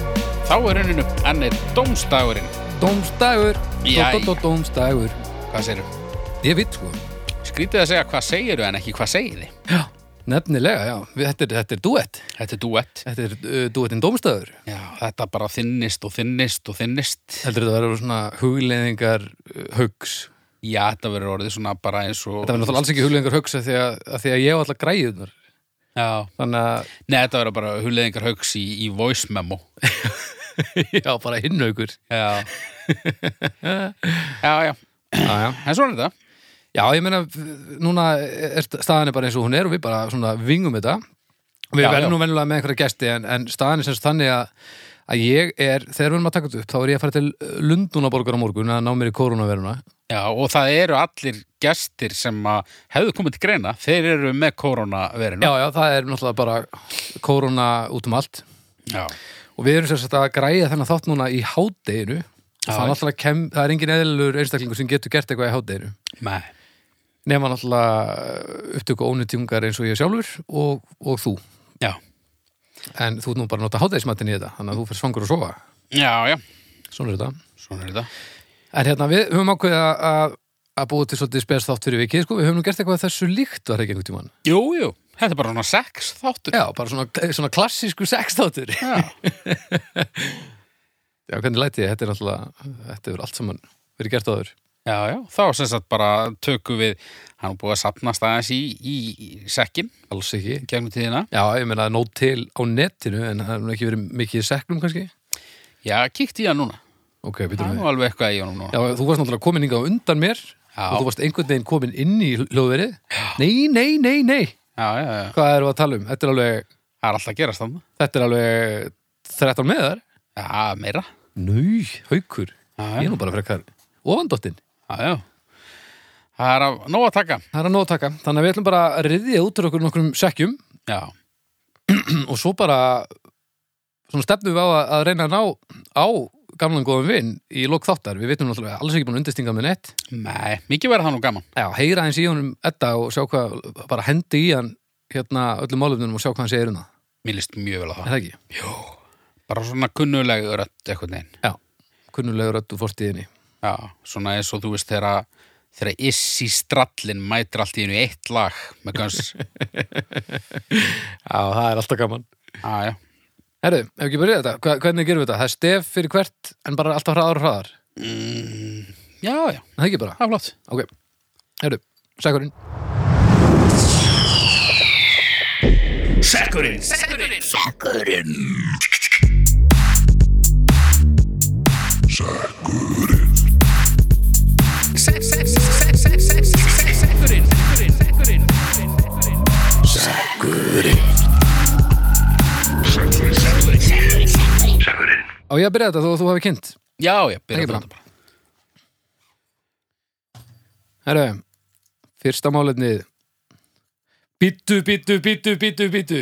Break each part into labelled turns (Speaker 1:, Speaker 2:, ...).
Speaker 1: í rauninu hann er dómstagurinn
Speaker 2: Dómsdagur
Speaker 1: Jæja.
Speaker 2: Dó, dó, dó, Dómsdagur
Speaker 1: hvað segirðu?
Speaker 2: Ég veit sko
Speaker 1: skrítið að segja hvað segiru en ekki hvað segið þið
Speaker 2: Já, nefnilega, já Við- Þetta er, þetta er duett
Speaker 1: þetta er duett
Speaker 2: Þetta er uh, duettinn Dómsdagur
Speaker 1: Já, þetta bara þynnist og þynnist og þynnist
Speaker 2: Heldur þetta verður svona hugleiðingar uh, hugs
Speaker 1: já, þetta verður orðið svona bara eins og
Speaker 2: Þetta verður náttúrulega alls ekki hugleiðingar hugs af því að, af því að ég á alltaf græðunar
Speaker 1: já,
Speaker 2: Þannig að,
Speaker 1: Nei, þetta verður bara huliðingar haugs í, í voice memo
Speaker 2: já, bara hinnaukur
Speaker 1: Já Já, já,
Speaker 2: Já, já
Speaker 1: en svona er þetta
Speaker 2: Já, ég meina, núna er staðan er bara eins og hún er og við bara svona vingum þetta. Við
Speaker 1: Já, já.
Speaker 2: verðum nú venjulega með einhverja gesti en, en staðan er sem sagt þannig að, að ég er, þegar við erum að taka þetta upp, þá er ég að fara til Lundunaborgar á morgun að ná mér í koronaveruna.
Speaker 1: Já, og það eru allir gestir sem að hefðu komið til greina þeir eru með
Speaker 2: Já,
Speaker 1: koronaverinu
Speaker 2: já, það er náttúrulega bara korona út um allt.
Speaker 1: já,
Speaker 2: Og við erum sem sagt að græja þennan þátt núna í hádeginu.
Speaker 1: Já.
Speaker 2: Það er náttúrulega kem, það er engin eðlilegur einstaklingur sem getur gert eitthvað í hádeginu.
Speaker 1: Nei.
Speaker 2: Nefna náttúrulega upptöku ónutjungar eins og ég sjálfur og, og þú.
Speaker 1: já,
Speaker 2: En þú ert nú bara að nota hátæðismatinn í þetta, þannig að þú fyrir svangur að sofa.
Speaker 1: já, já
Speaker 2: Svona er þetta.
Speaker 1: Svona er þetta
Speaker 2: En hérna, við höfum ákveðið að- að, að búa til svolítið spes þátt fyrir vikið, sko. Við höfum nú gert eitthvað þessu líkt var það ekki einhvern tímann.
Speaker 1: Jú, jú, þetta er bara svona sex þáttur
Speaker 2: Já, bara svona, svona klassísku sextáttur.
Speaker 1: já,
Speaker 2: Já, hvernig læti ég? Þetta er alltaf, þetta er allt saman verið gert áður.
Speaker 1: já, já. þá sem sagt bara tökum við hann er búið að sapnast aðeins í, í, í sekkin
Speaker 2: Alls ekki.
Speaker 1: gegnum tíðina
Speaker 2: Já, ég meina nót til á netinu, en það er nú ekki verið mikið í seknum kannski.
Speaker 1: Já, kíkt í hann núna
Speaker 2: Ok,
Speaker 1: Það er
Speaker 2: býtum við.
Speaker 1: nú alveg eitthvað í honum núna
Speaker 2: Já, þú varst náttúrulega komin hingað á undan mér
Speaker 1: Já.
Speaker 2: og þú varst einhvern veginn komin inn í hljóðverið. Nei, nei, nei, nei.
Speaker 1: já, já, já.
Speaker 2: Hvað erum við að tala um? Þetta er alveg
Speaker 1: Það er alltaf að gerast þannig
Speaker 2: Þetta er alveg 13 meðar
Speaker 1: Já, meira
Speaker 2: Nú, haukur
Speaker 1: Já,
Speaker 2: Ég
Speaker 1: já.
Speaker 2: er nú bara frekar ofandóttin
Speaker 1: Já, já. Það er af nóg að taka.
Speaker 2: Það er að nóg að taka Þannig að við ætlum bara að riðja út úr okkur nokkrum sekkjum
Speaker 1: Já.
Speaker 2: og svo bara svona stefnum við á að, að reyna að ná á gamlan góðum vinn í lok þáttar Við veitum náttúrulega alls ekki búin að undirstinga með nett
Speaker 1: Nei, mikið verður það nú gaman.
Speaker 2: Já, heyra hans í honum Edda og sjá hvað bara hendi í hann hérna öllum málefnunum og sjá hvað hann segir um það
Speaker 1: Mér líst mjög vel á
Speaker 2: Er
Speaker 1: það.
Speaker 2: það ekki?
Speaker 1: Jó. Bara svona kunnuleg rödd eitthvað neginn.
Speaker 2: Já, kunnulegur öll úr fortíðinni
Speaker 1: Já, svona eins og þú veist þegar þegar Issi Strallin mætir allt í einu í eitt lag með gans.
Speaker 2: Já, það er alltaf gaman
Speaker 1: Já, já.
Speaker 2: Herru, ef ekki byrjað þetta, Hva- hvernig gerum við þetta? Það er stef fyrir hvert, en bara alltaf hraðar og hraðar.
Speaker 1: Mm, já, já.
Speaker 2: Er Það ekki bara?
Speaker 1: Það er flott.
Speaker 2: Ok. Herru, sækurinn. Á ég að byrja þetta þó að þú hafi kynnt.
Speaker 1: Já, já,
Speaker 2: Ekki
Speaker 1: byrja
Speaker 2: bara.
Speaker 1: þetta bara.
Speaker 2: Herru, fyrsta málefnið. Bítu, bítu, bítu, bítu, bítu.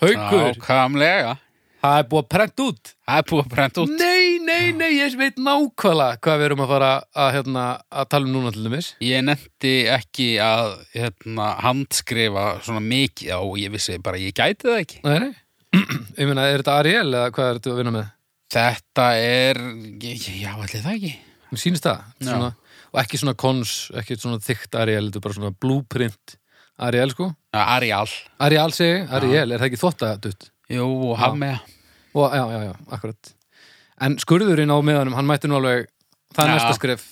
Speaker 2: Haukur,
Speaker 1: Nákvæmlega.
Speaker 2: það er búið að prenta út.
Speaker 1: Það er búið að brenda út.
Speaker 2: Nei, nei, nei, ég veit nákvæmlega hvað við erum að fara að, hérna, að tala um núna til dæmis.
Speaker 1: Ég nefndi ekki að hérna, handskrifa svona mikið á, ég vissi bara, ég gæti það ekki.
Speaker 2: Nei, nei. ég meina, er þetta Ariel eða hvað er þetta að vinna með?
Speaker 1: Þetta er, já, allir það ekki.
Speaker 2: Mér sýnist það
Speaker 1: Já.
Speaker 2: svona, og ekki svona kons, ekki svona þykkt Ariel, þetta er bara svona blúprint Ariel sko,
Speaker 1: Já, Arial.
Speaker 2: Ariel segi, Ariel, er það ekki þvottadutt?
Speaker 1: Jú, og Hamea.
Speaker 2: Og, já, já, já, akkurat En skurðurinn á meðanum, hann mætti nú alveg það er
Speaker 1: Já.
Speaker 2: næsta skref,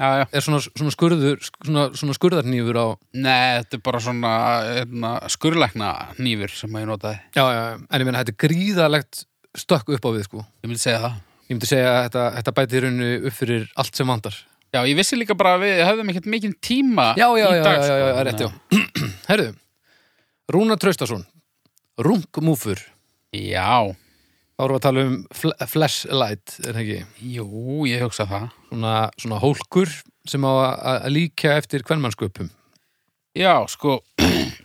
Speaker 1: Já, já.
Speaker 2: er svona, svona skurður svona, svona skurðarnýfur á
Speaker 1: Nei, þetta er bara svona hérna, skurlækna nýfur sem að ég notaði.
Speaker 2: Já, já, já, en ég meina, þetta er gríðalegt stökk upp á við sko
Speaker 1: Ég myndi segja það.
Speaker 2: Ég myndi segja að þetta, þetta bæti í rauninu upp fyrir allt sem vandar
Speaker 1: Já, ég vissi líka bara að við höfðum ekkert mikinn tíma
Speaker 2: Já, já,
Speaker 1: í
Speaker 2: já,
Speaker 1: dag.
Speaker 2: já, já, já,
Speaker 1: sko.
Speaker 2: já rétt, já Herðu, Rúna Traustason Rungmúfur
Speaker 1: Já,
Speaker 2: Þá erum við að tala um fl flashlight, er það ekki?
Speaker 1: jú, ég hugsa það.
Speaker 2: Svona, svona hólkur sem á að að líka eftir kvennmannsköpum.
Speaker 1: Já, sko,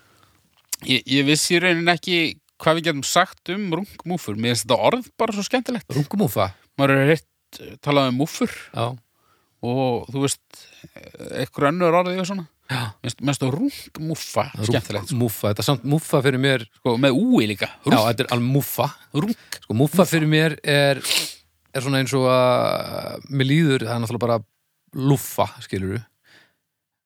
Speaker 1: ég, ég vissi í raunin ekki hvað við getum sagt um rungmúfur. Mér finnst þetta orð bara svo skemmtilegt.
Speaker 2: Rungumúfa?
Speaker 1: Maður er hitt talað um múfur
Speaker 2: Já.
Speaker 1: og þú veist, eitthvað önnur orðið og svona.
Speaker 2: Já.
Speaker 1: Mér finnst þetta rungmúfa skemmtilegt.
Speaker 2: Múfa, þetta er samt múfa fyrir mér,
Speaker 1: sko, með úi líka
Speaker 2: já,
Speaker 1: rung,
Speaker 2: þetta er alveg múfa.
Speaker 1: rung.
Speaker 2: Sko, múfa fyrir mér er er svona eins og að mér líður, það er náttúrulega bara lúffa, skilur við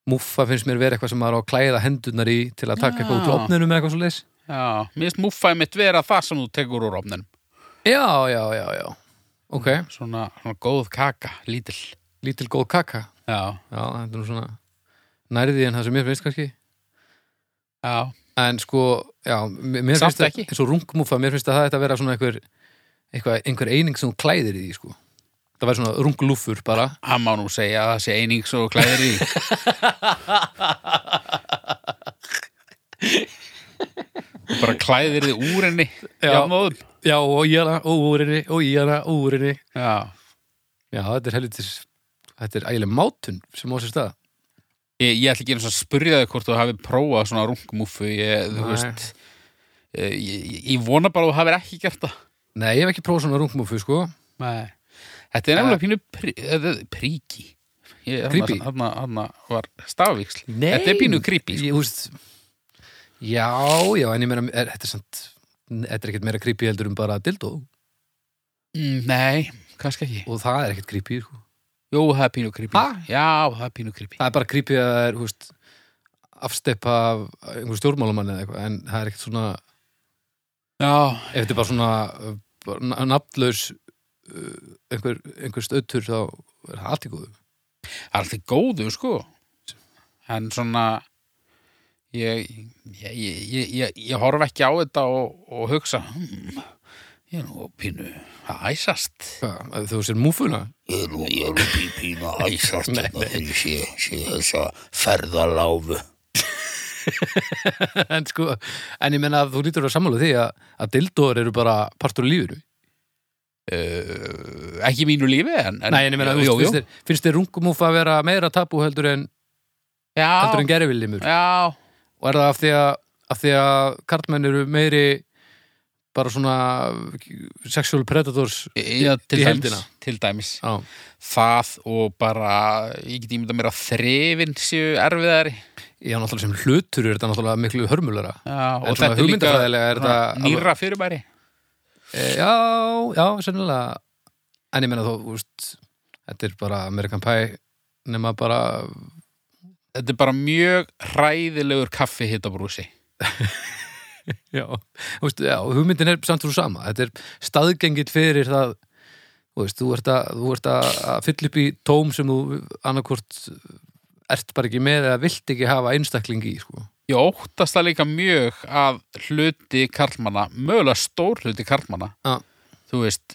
Speaker 2: Múffa finnst mér vera eitthvað sem maður á að klæða hendurnar í til að taka
Speaker 1: Já.
Speaker 2: eitthvað út úr opninum eða eitthvað svo leis
Speaker 1: Já, mér finnst múffaði mitt vera það sem þú tekur úr ofninum.
Speaker 2: Já, já, já, já Ok,
Speaker 1: Svona, svona góð kaka, lítill.
Speaker 2: lítil góð kaka
Speaker 1: Já,
Speaker 2: Já, þetta er nú svona nærði en það sem mér finnst kannski
Speaker 1: já,
Speaker 2: En sko, já, mér mér
Speaker 1: Samt
Speaker 2: finnst
Speaker 1: ekki.
Speaker 2: eins og rungmúfa, mér finnst að það ætti að vera svona einhver, einhver, einhver eining sem hún klæðir í því, sko Það væri svona runglúfur bara
Speaker 1: hann má nú segja að það sé eining svo klæðir í. Þú bara klæðir þið úr henni.
Speaker 2: Já.
Speaker 1: móðum.
Speaker 2: Já, og í hana, og úr henni, og í hana, og úr henni
Speaker 1: Já.
Speaker 2: Já, þetta er helvitis Þetta er ægileg mátun sem á sér stað
Speaker 1: Ég, ég ætla ekki eins og að spyrja þig hvort þú hafi prófað svona rungmúfu, ég, þú
Speaker 2: Nei.
Speaker 1: veist, ég, ég, ég vona bara að þú hafir ekki gert það.
Speaker 2: Nei, ég hef ekki prófað svona rungmúfu, sko
Speaker 1: Nei. Þetta er nefnilega pínu prí, þetta er príki. Ég- þarna-
Speaker 2: Creepy.
Speaker 1: Þarna þarna var stafvíksl.
Speaker 2: Nei.
Speaker 1: Þetta er pínu creepy. Sko.
Speaker 2: Ég húst Já, já, en ég meira, er, þetta er samt Þetta er ekkert meira creepy heldur um bara dildó
Speaker 1: Mm, Nei, kannski ekki.
Speaker 2: og það er ekkert creepy, sko
Speaker 1: Jú, það er pínu creepy.
Speaker 2: Ha?
Speaker 1: Já, það er pínu creepy.
Speaker 2: Það er bara creepy að það er, húst afsteppa af einhver stjórnmálumann eða eitthvað, en það er ekkert svona
Speaker 1: Já,
Speaker 2: ef þetta er bara svona uh, bara na- nafnlaus uh, einhver, einhver stöttur þá er það allt í góðu
Speaker 1: það er alltaf góðu, sko. En svona, ég, ég, ég, ég, ég, ég horf ekki á þetta og, og hugsa, hmm, ég er nú pínu að æsast.
Speaker 2: Hvað, þú sér múfuna?
Speaker 3: Ég er nú, ég er nú pí- pínu að æsast hérna þegar ég sé, sé þessa ferðaláfu.
Speaker 2: en sko, en ég menna að þú lítur að sammála því að, að dildóður eru bara partur úr lífinu
Speaker 1: Uh, ekki í mínu lífi, en... en
Speaker 2: Nei, en ég menna,
Speaker 1: jú, jú,
Speaker 2: finnst
Speaker 1: jú.
Speaker 2: þér- finnst þér rungumúfa að vera meira tabú heldur en, heldur
Speaker 1: Já,
Speaker 2: en gerifillimur
Speaker 1: já,
Speaker 2: og er það af því að, af því að karlmenn eru meiri bara svona sexual predators
Speaker 1: já, til
Speaker 2: í
Speaker 1: dæmis,
Speaker 2: heildina.
Speaker 1: til dæmis.
Speaker 2: á.
Speaker 1: það og bara ég get ímynda mér að þrifin séu erfiðari
Speaker 2: Já, náttúrulega sem hlutur er þetta náttúrulega miklu hörmulara
Speaker 1: já,
Speaker 2: En svona hugmyndafræðilega er
Speaker 1: svona
Speaker 2: þetta
Speaker 1: nýra fyrirbæri
Speaker 2: E, Já, já, sennilega En ég meina þó, úst Þetta er bara American Pie nema bara,
Speaker 1: þetta er bara mjög hræðilegur kaffi hittabrúsi
Speaker 2: já, úst, já hugmyndin er samt úr sama, þetta er staðgengill fyrir það þú veist, þú ert að, þú ert að að fylla upp í tóm sem þú annarkvort ert bara ekki með eða vilt ekki hafa einstakling í, sko
Speaker 1: ég óttast það líka mjög að hluti karlmanna mögulega stór hluti karlmanna
Speaker 2: Já.
Speaker 1: þú veist,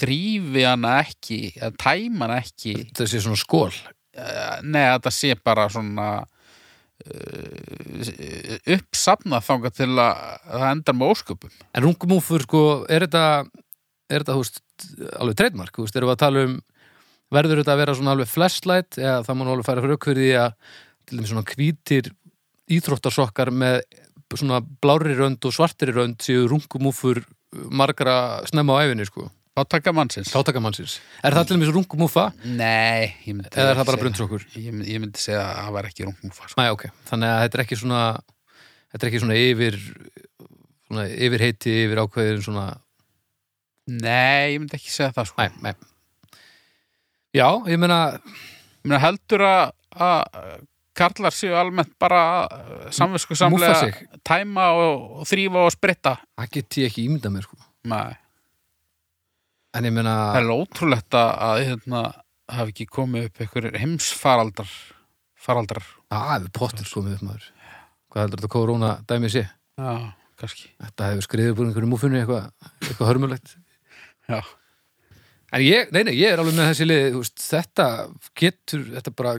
Speaker 1: þrýfi hana ekki eða tæma hana ekki
Speaker 2: Þetta sé svona skól
Speaker 1: eh, neða þetta sé bara svona uh, uppsafna þangað til að það endar með ósköpum
Speaker 2: En rungumúfur, sko, er þetta er þetta, húst, alveg treytmark, húst, erum við að tala um verður þetta að vera svona alveg flashlight eða það má nú alveg færa fyrir okkur því að til þeim svona hvítir íþróttasokkar með svona blári rönd og svartri rönd séu rungumúfur margra snemma á æfinni, sko,
Speaker 1: þá taka mannsins
Speaker 2: tátakamannsins Er það til þeim rungumúfa
Speaker 1: Nei, ég myndi ekki
Speaker 2: eða er það bara
Speaker 1: segja-
Speaker 2: brundsokkur?
Speaker 1: Ég, myndi- ég myndi segja að það var ekki rungmúfa sko.
Speaker 2: Næ, ok, þannig að þetta er ekki svona þetta er ekki svona yfir svona yfir heiti, yfir ákveðin svona
Speaker 1: Nei, ég myndi ekki segja það sko.
Speaker 2: Nei, nei. Já, ég meina
Speaker 1: Ég meina heldur að, að karlar séu almennt bara eh, samvisku
Speaker 2: Múffa
Speaker 1: samlega
Speaker 2: sig.
Speaker 1: tæma og, og þrýfa og spritta
Speaker 2: það get ég ekki ímyndað mér sko.
Speaker 1: Nei,
Speaker 2: En ég meina
Speaker 1: það er alveg ótrúlegt að, að hérna, hafi ekki komið upp einhver heimsfaraldar faraldar,
Speaker 2: Það hefur pottur komið upp maður Hvað heldur þetta korona dæmið sé?
Speaker 1: já, kannski
Speaker 2: Þetta hefur skriðið búin einhverju múfunni eitthvað eitthvað hörmulegt
Speaker 1: Já,
Speaker 2: En ég, nei, nei, ég er alveg með þessi lið þú veist, Þetta getur, þetta bara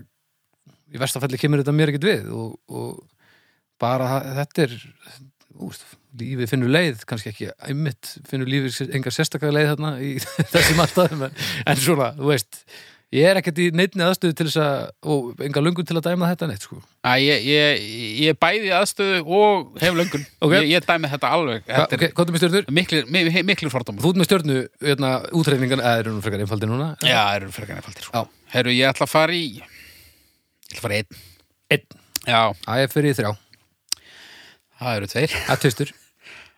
Speaker 2: í verstafelli kemur þetta mér ekkert við og, og bara það- þetta er úst, lífið finnur leið, kannski ekki einmitt finnur lífið sér- engar sérstakar leið þarna í þessum aðstæðum en, en svona, þú veist ég er ekkert í neittni aðstöðu til þess að og engar lungun til að dæma þetta neitt sko.
Speaker 1: Æ, ég, ég, ég er bæði í aðstöðu og hef löngun
Speaker 2: Ok.
Speaker 1: ég, ég dæmi þetta alveg
Speaker 2: Hva,
Speaker 1: þetta er
Speaker 2: ok, hvað er með stjörnur?
Speaker 1: miklir, mi- miklir fordómar
Speaker 2: Þú ert með stjörnu, hérna, útreifningan eða eru nú frekar einfaldir núna
Speaker 1: Já, það eru frekar nefaldir sko.
Speaker 2: Já.
Speaker 1: Herru, ég ætla að fara í Ég ætla að fara í einn
Speaker 2: Einn,
Speaker 1: Já,
Speaker 2: það er fyrir í þrjá
Speaker 1: það eru tveir Æ,
Speaker 2: Það er tvistur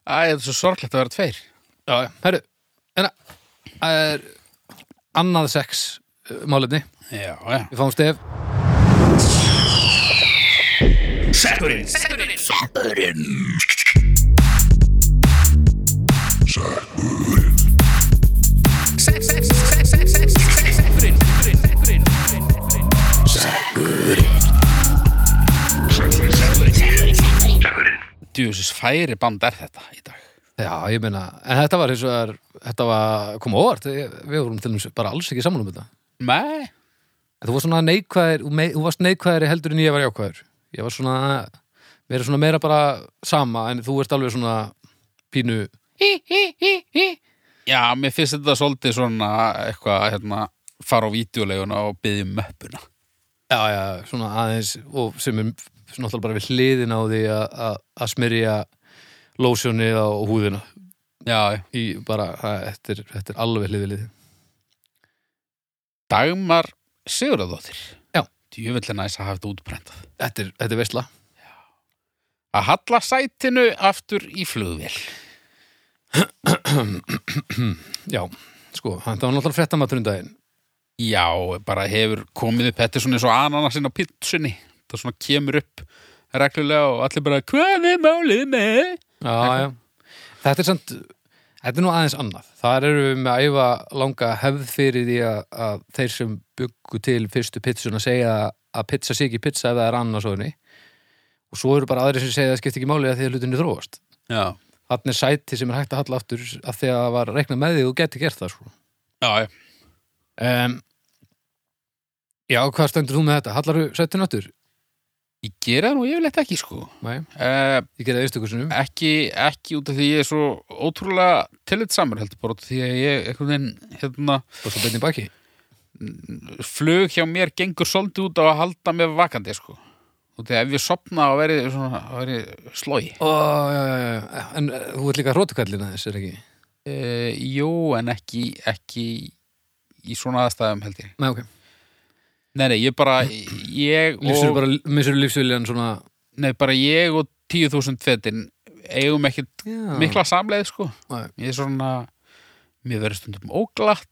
Speaker 1: það er svo sorglegt að vera tveir
Speaker 2: Já, herru, hérna Það er annað sex uh, málefni.
Speaker 1: já, já
Speaker 2: Við fáum stef.
Speaker 1: djúsis færi band er þetta í dag
Speaker 2: Já, ég meina, en þetta var eins og er, þetta var koma á óvart, Ég- við vorum til þess bara alls ekki saman um þetta.
Speaker 1: Nei,
Speaker 2: En þú varst svona neikvæðir, þú mei- þú varst neikvæðir heldur en ég var jákvæður. Ég var svona, mér er svona meira bara sama, en þú ert alveg svona pínu,
Speaker 1: já, mér finnst þetta svolítið svona eitthvað, hérna, fara á vídeoleguna og byggja um möppuna
Speaker 2: já, já, svona aðeins, og sem er svona alltaf bara við hliðin á því að- að að smyrja lósjónið á húðina.
Speaker 1: Já, já.
Speaker 2: Í bara, það- þetta er, þetta er alveg hliðið liðið.
Speaker 1: Dagmar Sigurðardóttir
Speaker 2: Já.
Speaker 1: Djöfullin næs að hafa þetta útbrendað
Speaker 2: Þetta er, þetta er veistla.
Speaker 1: Að halla sætinu aftur í flugvél
Speaker 2: Já, sko, þetta var náttúrulega fréttamatur um daginn.
Speaker 1: Já, bara hefur komið upp Þetta er svona eins og ananasinn á pittsunni Það svona kemur upp reglulega og allir bara, hvað er málið með?
Speaker 2: Já, já. Þetta er samt, þetta er nú aðeins annað. Þar eru við með æfa langa hefð fyrir því að, að þeir sem byggu til fyrstu pizzuna segja að pizza sé ekki pizza ef það er annars og henni. Og svo eru bara aðrir sem segja að það skipti ekki máli að því að hlutinni þróast.
Speaker 1: Já,
Speaker 2: Þannig er sæti sem er hægt að halla aftur af því að það var reiknað með því og þú geti gert það, sko.
Speaker 1: já, já
Speaker 2: Um, já, hvað stendur þú með þetta? Hallar þú sættin aftur?
Speaker 1: Ég gera það nú yfirleitt ekki, sko
Speaker 2: Nei,
Speaker 1: uh,
Speaker 2: ég gerði auðstökursunum.
Speaker 1: ekki, ekki út af því ég er svo ótrúlega tillitsamur heldur bara út af því að ég einhvern veginn hérna,
Speaker 2: Og svo beinni baki.
Speaker 1: flug hjá mér gengur svolítið út á að halda mig vakandi sko. út af því að ef ég sopna og veri, svona, veri slói
Speaker 2: Ó, já, já, já. En uh, þú ert líka hrótukallina þess, er ekki?
Speaker 1: e, Jú, en ekki ekki í svona aðstæðum held ég
Speaker 2: Nei, ok.
Speaker 1: Nei, nei, ég bara ég
Speaker 2: Lífsur
Speaker 1: og,
Speaker 2: bara, missur lífsviljan svona
Speaker 1: nei, bara ég og 10.000 fetin eigum ekkert
Speaker 2: já.
Speaker 1: mikla samleið sko.
Speaker 2: Nei.
Speaker 1: ég er svona mér verður stundum óglatt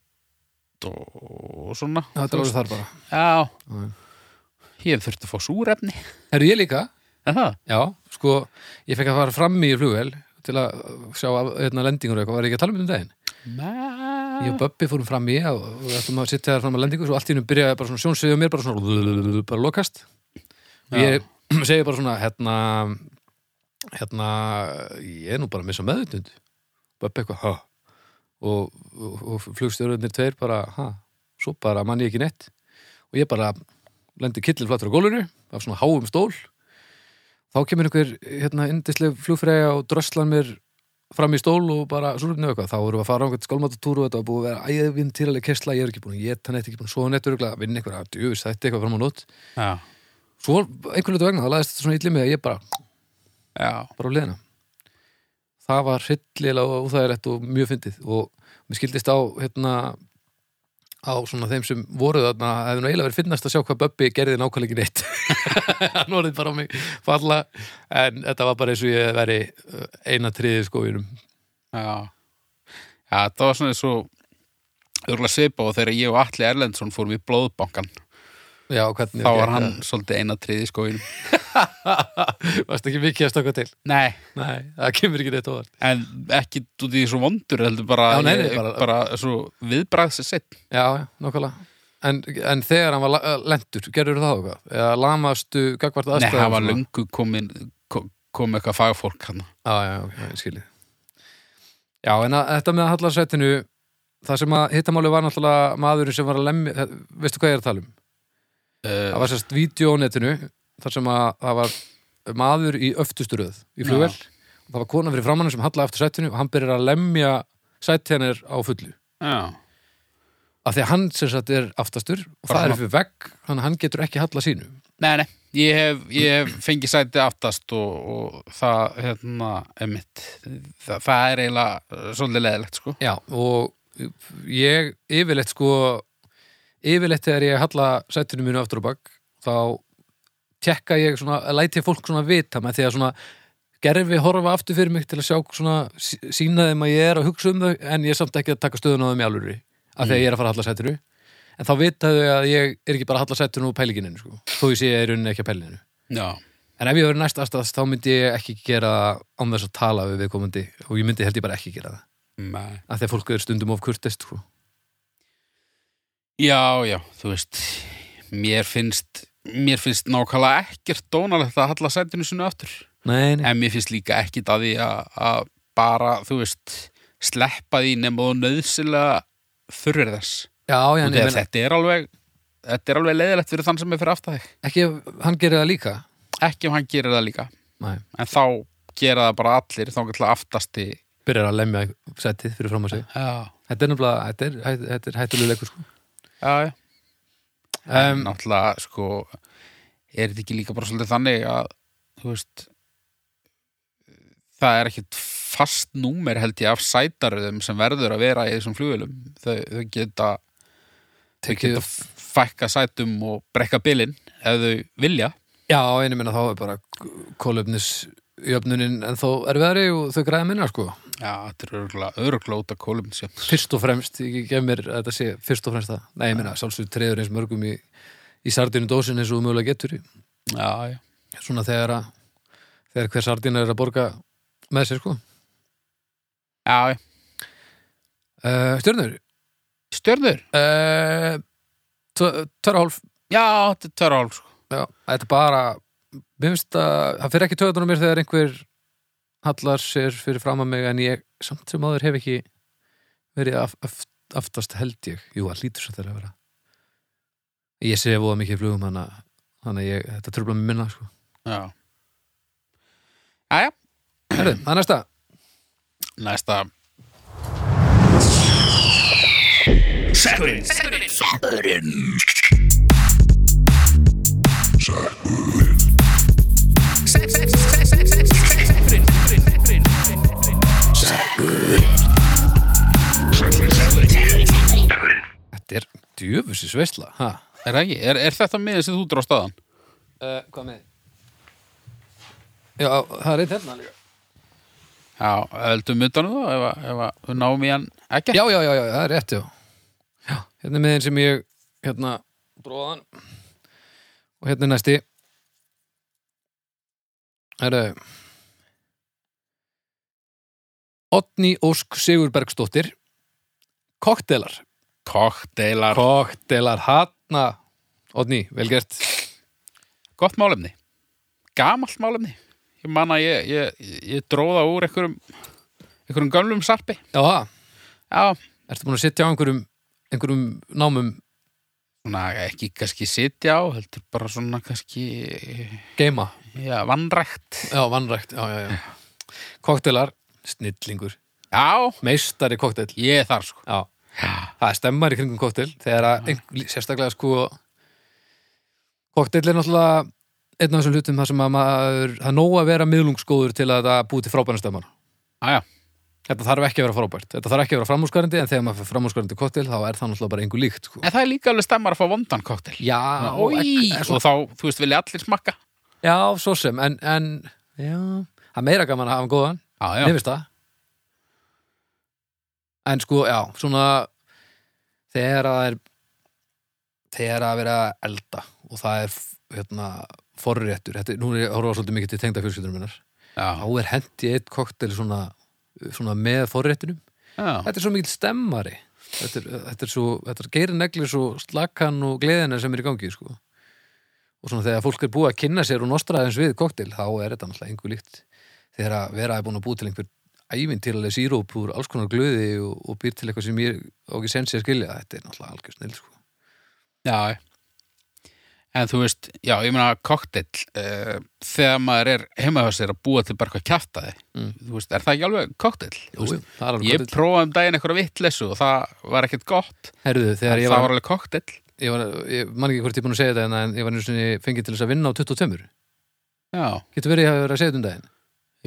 Speaker 1: og, og svona
Speaker 2: Já,
Speaker 1: Þú
Speaker 2: þetta
Speaker 1: veist.
Speaker 2: voru þar bara
Speaker 1: Já,
Speaker 2: Já.
Speaker 1: ég hef þurft að fá súrefni
Speaker 2: Herru, ég líka,
Speaker 1: Er það?
Speaker 2: já, sko ég fekk að fara fram í flugvel til að uh, sjá af, hérna, lendingur og eitthvað, var ég ekki að tala um þetta um daginn Ég og Böbbi fórum fram í og og við ættum að sitja þar fram að lendingu svo allt í hennu byrjaði bara svona sjónsviðið á mér bara svona bara lokast og ég segi bara svona hérna, hérna ég er nú bara að missa meðutund Böbbi eitthvað, ha og, og, og flugstjórunir tveir bara, ha svo bara mann ég ekki neitt og ég bara lendi killin flattur á gólfinu af svona háum stól þá kemur einhver hérna indisleg flugfræja og dröslan mér fram í stól og bara súrfni og eitthvað, þá vorum við að fara á einhvern skólmatatúr og þetta var búið að vera æðvinn týraleg kessla ég er ekki búin að geta neitt, ekki búin að sofa neitt örugglega, vinna einhverja, djöfis, þetta eitthvað fram á nótt
Speaker 1: Já,
Speaker 2: svo einhvern veit vegna, þá laðist þetta svona illið mig að ég bara,
Speaker 1: já,
Speaker 2: bara á liðina það var hryllilega og það er rétt og mjög fyndið og mér skildist á hérna á svona þeim sem voru þarna það hefði nú eiginlega verið finnast að sjá hvað Böbbi gerði nákvæmlega ekki neitt hann orðið bara á mig falla en þetta var bara eins og ég veri eina triðið skóinum
Speaker 1: já. Já, það var svona eins og örgulega svipa og þegar ég og Atli Erlendsson fórum í blóðbankan
Speaker 2: Já, hvernig
Speaker 1: þá var
Speaker 2: gekk
Speaker 1: hann
Speaker 2: það?
Speaker 1: svolítið eina triði skóin
Speaker 2: Varst ekki mikið að stökka til
Speaker 1: Nei,
Speaker 2: Nei, það kemur ekki neitt óvart
Speaker 1: en ekki út í því svo vondur heldur bara,
Speaker 2: Já, nei, nei,
Speaker 1: ég-
Speaker 2: bara-
Speaker 1: svo viðbræðs sett
Speaker 2: Já, já, nokkulega En, en þegar hann var la- eh, lentur, gerður það eitthvað? Eða lamastu gagvart
Speaker 1: Nei,
Speaker 2: aðstæðum?
Speaker 1: það var
Speaker 2: svona?
Speaker 1: löngu komin kom, kom eitthvað fagfólk hann
Speaker 2: Já, Ah, já, já, ég skilji Já, en að, þetta með að halla sætinu Það sem að hittamáli var náttúrulega maðurinn sem var að lemmi eh, Veistu hvað ég er að tala um?
Speaker 1: uh,
Speaker 2: Það var sérst vídeónetinu þar sem að það var maður í öftusturöð í flugvel og það var kona fyrir framannum sem hallaði aftur sætinu og hann byrjar að lemja sæti hennir á fullu
Speaker 1: Já,
Speaker 2: af því að hann sem sagt er aftastur
Speaker 1: Bara
Speaker 2: og það er
Speaker 1: svona-
Speaker 2: fyrir vegg, þannig að hann getur ekki halla sínu
Speaker 1: nei, nei Ég hef, ég hef fengið sæti aftast og, og það, hérna, emitt, það, það er eiginlega uh, svolítið leðilegt, sko.
Speaker 2: já, og ég yfirleitt sko yfirleitt þegar ég halla sætinu mínu aftur á bak þá tekka ég svona, læti ég fólk svona vita með því að svona gerfi horfa aftur fyrir mig til að sjá svona sí- sína þeim að ég er að hugsa um þau en ég er samt ekki að taka stöðun á þeim í alvöru að þegar ég er að fara að halla sætinu en þá vita þau að ég er ekki bara að halla sætinu og pælingininu sko, þó ég sé ég er unni ekki að pælinu
Speaker 1: já,
Speaker 2: en ef ég verið næst aðstæðast þá myndi ég ekki gera það án þess að tala við viðkomandi og ég myndi held ég bara ekki gera það
Speaker 1: með
Speaker 2: af því að fólk er stundum of kurtist sko.
Speaker 1: Já, já, þú veist mér finnst mér finnst nákvæmlega ekkert dónalegt að halla sætinu sinu aftur
Speaker 2: nei, nei,
Speaker 1: en mér finnst líka ekkert að því að að bara, þú veist sleppa því nema þú nöðsilega þurrir þess
Speaker 2: já, já, en
Speaker 1: Nei, meina...
Speaker 2: ég meina,
Speaker 1: þetta er alveg þetta er alveg leiðilegt fyrir þann sem er fyrir aftar þig
Speaker 2: ekki ef hann gerir það líka
Speaker 1: ekki ef hann gerir það líka
Speaker 2: nei,
Speaker 1: en þá gera það bara allir þá gætla aftasti
Speaker 2: byrjar að lemja sætið fyrir fram að sig
Speaker 1: já,
Speaker 2: þetta er nefnilega, þetta er, hæ- þetta er hættulegur sko.
Speaker 1: já, já
Speaker 2: um,
Speaker 1: náttúrulega sko er þetta ekki líka bara svolítið þannig að þú veist það er ekkit fast númer held ég af sætaröðum sem verður að vera í þessum flugvélum þau, þau geta, þau
Speaker 2: Tekið-
Speaker 1: geta fækka sætum og brekka bilinn ef þau vilja
Speaker 2: Já, einu minna þá er bara kólöfnis jöfnunin en þó erfiðari og þau græða minna sko.
Speaker 1: Já, þetta er örgulega örglóta kólum sem
Speaker 2: Fyrst og fremst, ég gef mér að þetta sé fyrst og fremst það. Nei, ég minna, sálsveit treður eins mörgum í, í sardinu dósin eins og þú mögulega getur í.
Speaker 1: Já, já,
Speaker 2: Svona þegar, að, þegar hver sardina er að borga með sér sko.
Speaker 1: já, já.
Speaker 2: Uh, stjörnur,
Speaker 1: Stjörnur?
Speaker 2: uh, tvara hálf,
Speaker 1: Já, þetta er törra hálf sko.
Speaker 2: já, þetta er bara, mér finnst að, það fyrir ekki töðunum mér þegar einhver hallar sér fyrir fram að mig en ég samt sem áður hef ekki verið af, af, aftast held ég jú, það lítur svo þegar að vera ég sé voða mikið í flugum hana þannig að ég, þetta tröfla mér minna sko.
Speaker 1: Já Já, já,
Speaker 2: Herðu, það er næsta
Speaker 1: næsta
Speaker 3: Sækurinn Sækurinn
Speaker 2: þetta er djöfusis veistla ha?
Speaker 1: Er, það ekki, er, er þetta miðið sem þú dróst aðan?
Speaker 2: Uh, hvað með já, það er eitt hérna líka
Speaker 1: Já, höldum utanum það ef, að- ef að við náum í hann ekki
Speaker 2: já, já, já, já, það er rétt, já já, hérna er miðin sem ég hérna, bróðan og hérna er næsti Herðu Otni Ósk Sigurbergsdóttir Koktelar
Speaker 1: Kokteilar,
Speaker 2: Koktelar, hana Otni, vel gert
Speaker 1: gott málefni Gamalt málefni Ég man að ég, ég, ég dróða úr einhverjum einhverjum gömlum sarpi
Speaker 2: Já, ha,
Speaker 1: Já,
Speaker 2: ertu búin að sitja á einhverjum einhverjum námum
Speaker 1: svona ekki kannski sitja á heldur bara svona kannski
Speaker 2: geima
Speaker 1: já, vannrækt
Speaker 2: Já, vannrækt, já, já, já Koktelar, snillingur
Speaker 1: Já,
Speaker 2: Meistari koktel
Speaker 1: ég er þar sko
Speaker 2: Já,
Speaker 1: Já,
Speaker 2: það er stemmar í kringum koktel þegar að, ein, sérstaklega sko koktel er náttúrulega einn af þessum hlutum þar sem að maður það er nóg að vera miðlungsgóður til að það búi til frábæna stemmar
Speaker 1: já,
Speaker 2: þetta þarf ekki að vera frábært, þetta þarf ekki að vera framúrskarandi en þegar maður fyrir framúrskarandi koktel þá er það náttúrulega bara engu líkt sko.
Speaker 1: en það er líka alveg stemmar að fá vondan kokteil
Speaker 2: Já,
Speaker 1: og,
Speaker 2: ek- ek-
Speaker 1: og þá, þú veist, vilja allir smakka
Speaker 2: já, svo sem en, en já, það er meira gaman að hafa góðan
Speaker 1: Já,
Speaker 2: Mér finnst það En sko, já, svona þegar að er þegar að vera að elda og það er hérna forréttur, þetta, er- nú er ég að horfa svolítið mikið til tengda fjölskyldunum minnar, þá
Speaker 1: já,
Speaker 2: er hent í eitt koktel svona, svona með forréttunum,
Speaker 1: já,
Speaker 2: þetta er svo mikil stemmari þetta er, þetta er svo, þetta er geirin neglir svo slakan og gleðina sem er í gangi sko. og svona þegar fólk er búið að kynna sér og nostra aðeins við koktel þá er þetta náttúrulega engu líkt þegar að vera er búin að búið til einhver ævinn til alveg síróp úr alls konar glöði og, og býr til eitthvað sem ég á ekki sensi að skilja þetta er náttúrulega algjör snill sko.
Speaker 1: já En þú veist, já, ég meina kokteil uh, þegar maður er heima hjá sér að búa til bara eitthvað kjaftaði
Speaker 2: Mm.
Speaker 1: þú veist, er það ekki alveg kokteil?
Speaker 2: Jú, jú, það er alveg
Speaker 1: Ég
Speaker 2: kokteil.
Speaker 1: prófaði um daginn eitthvað vittleysu og það var ekkert gott
Speaker 2: Herðu, þegar
Speaker 1: en
Speaker 2: ég
Speaker 1: það
Speaker 2: var,
Speaker 1: var alveg kokteil
Speaker 2: ég var ég man ekki hvort ég er búin að segja þetta hérna, en ég var einu sinni fengið til þess að vinna á 22
Speaker 1: Já,
Speaker 2: getur verið að ég hafa verið að segja þetta um daginn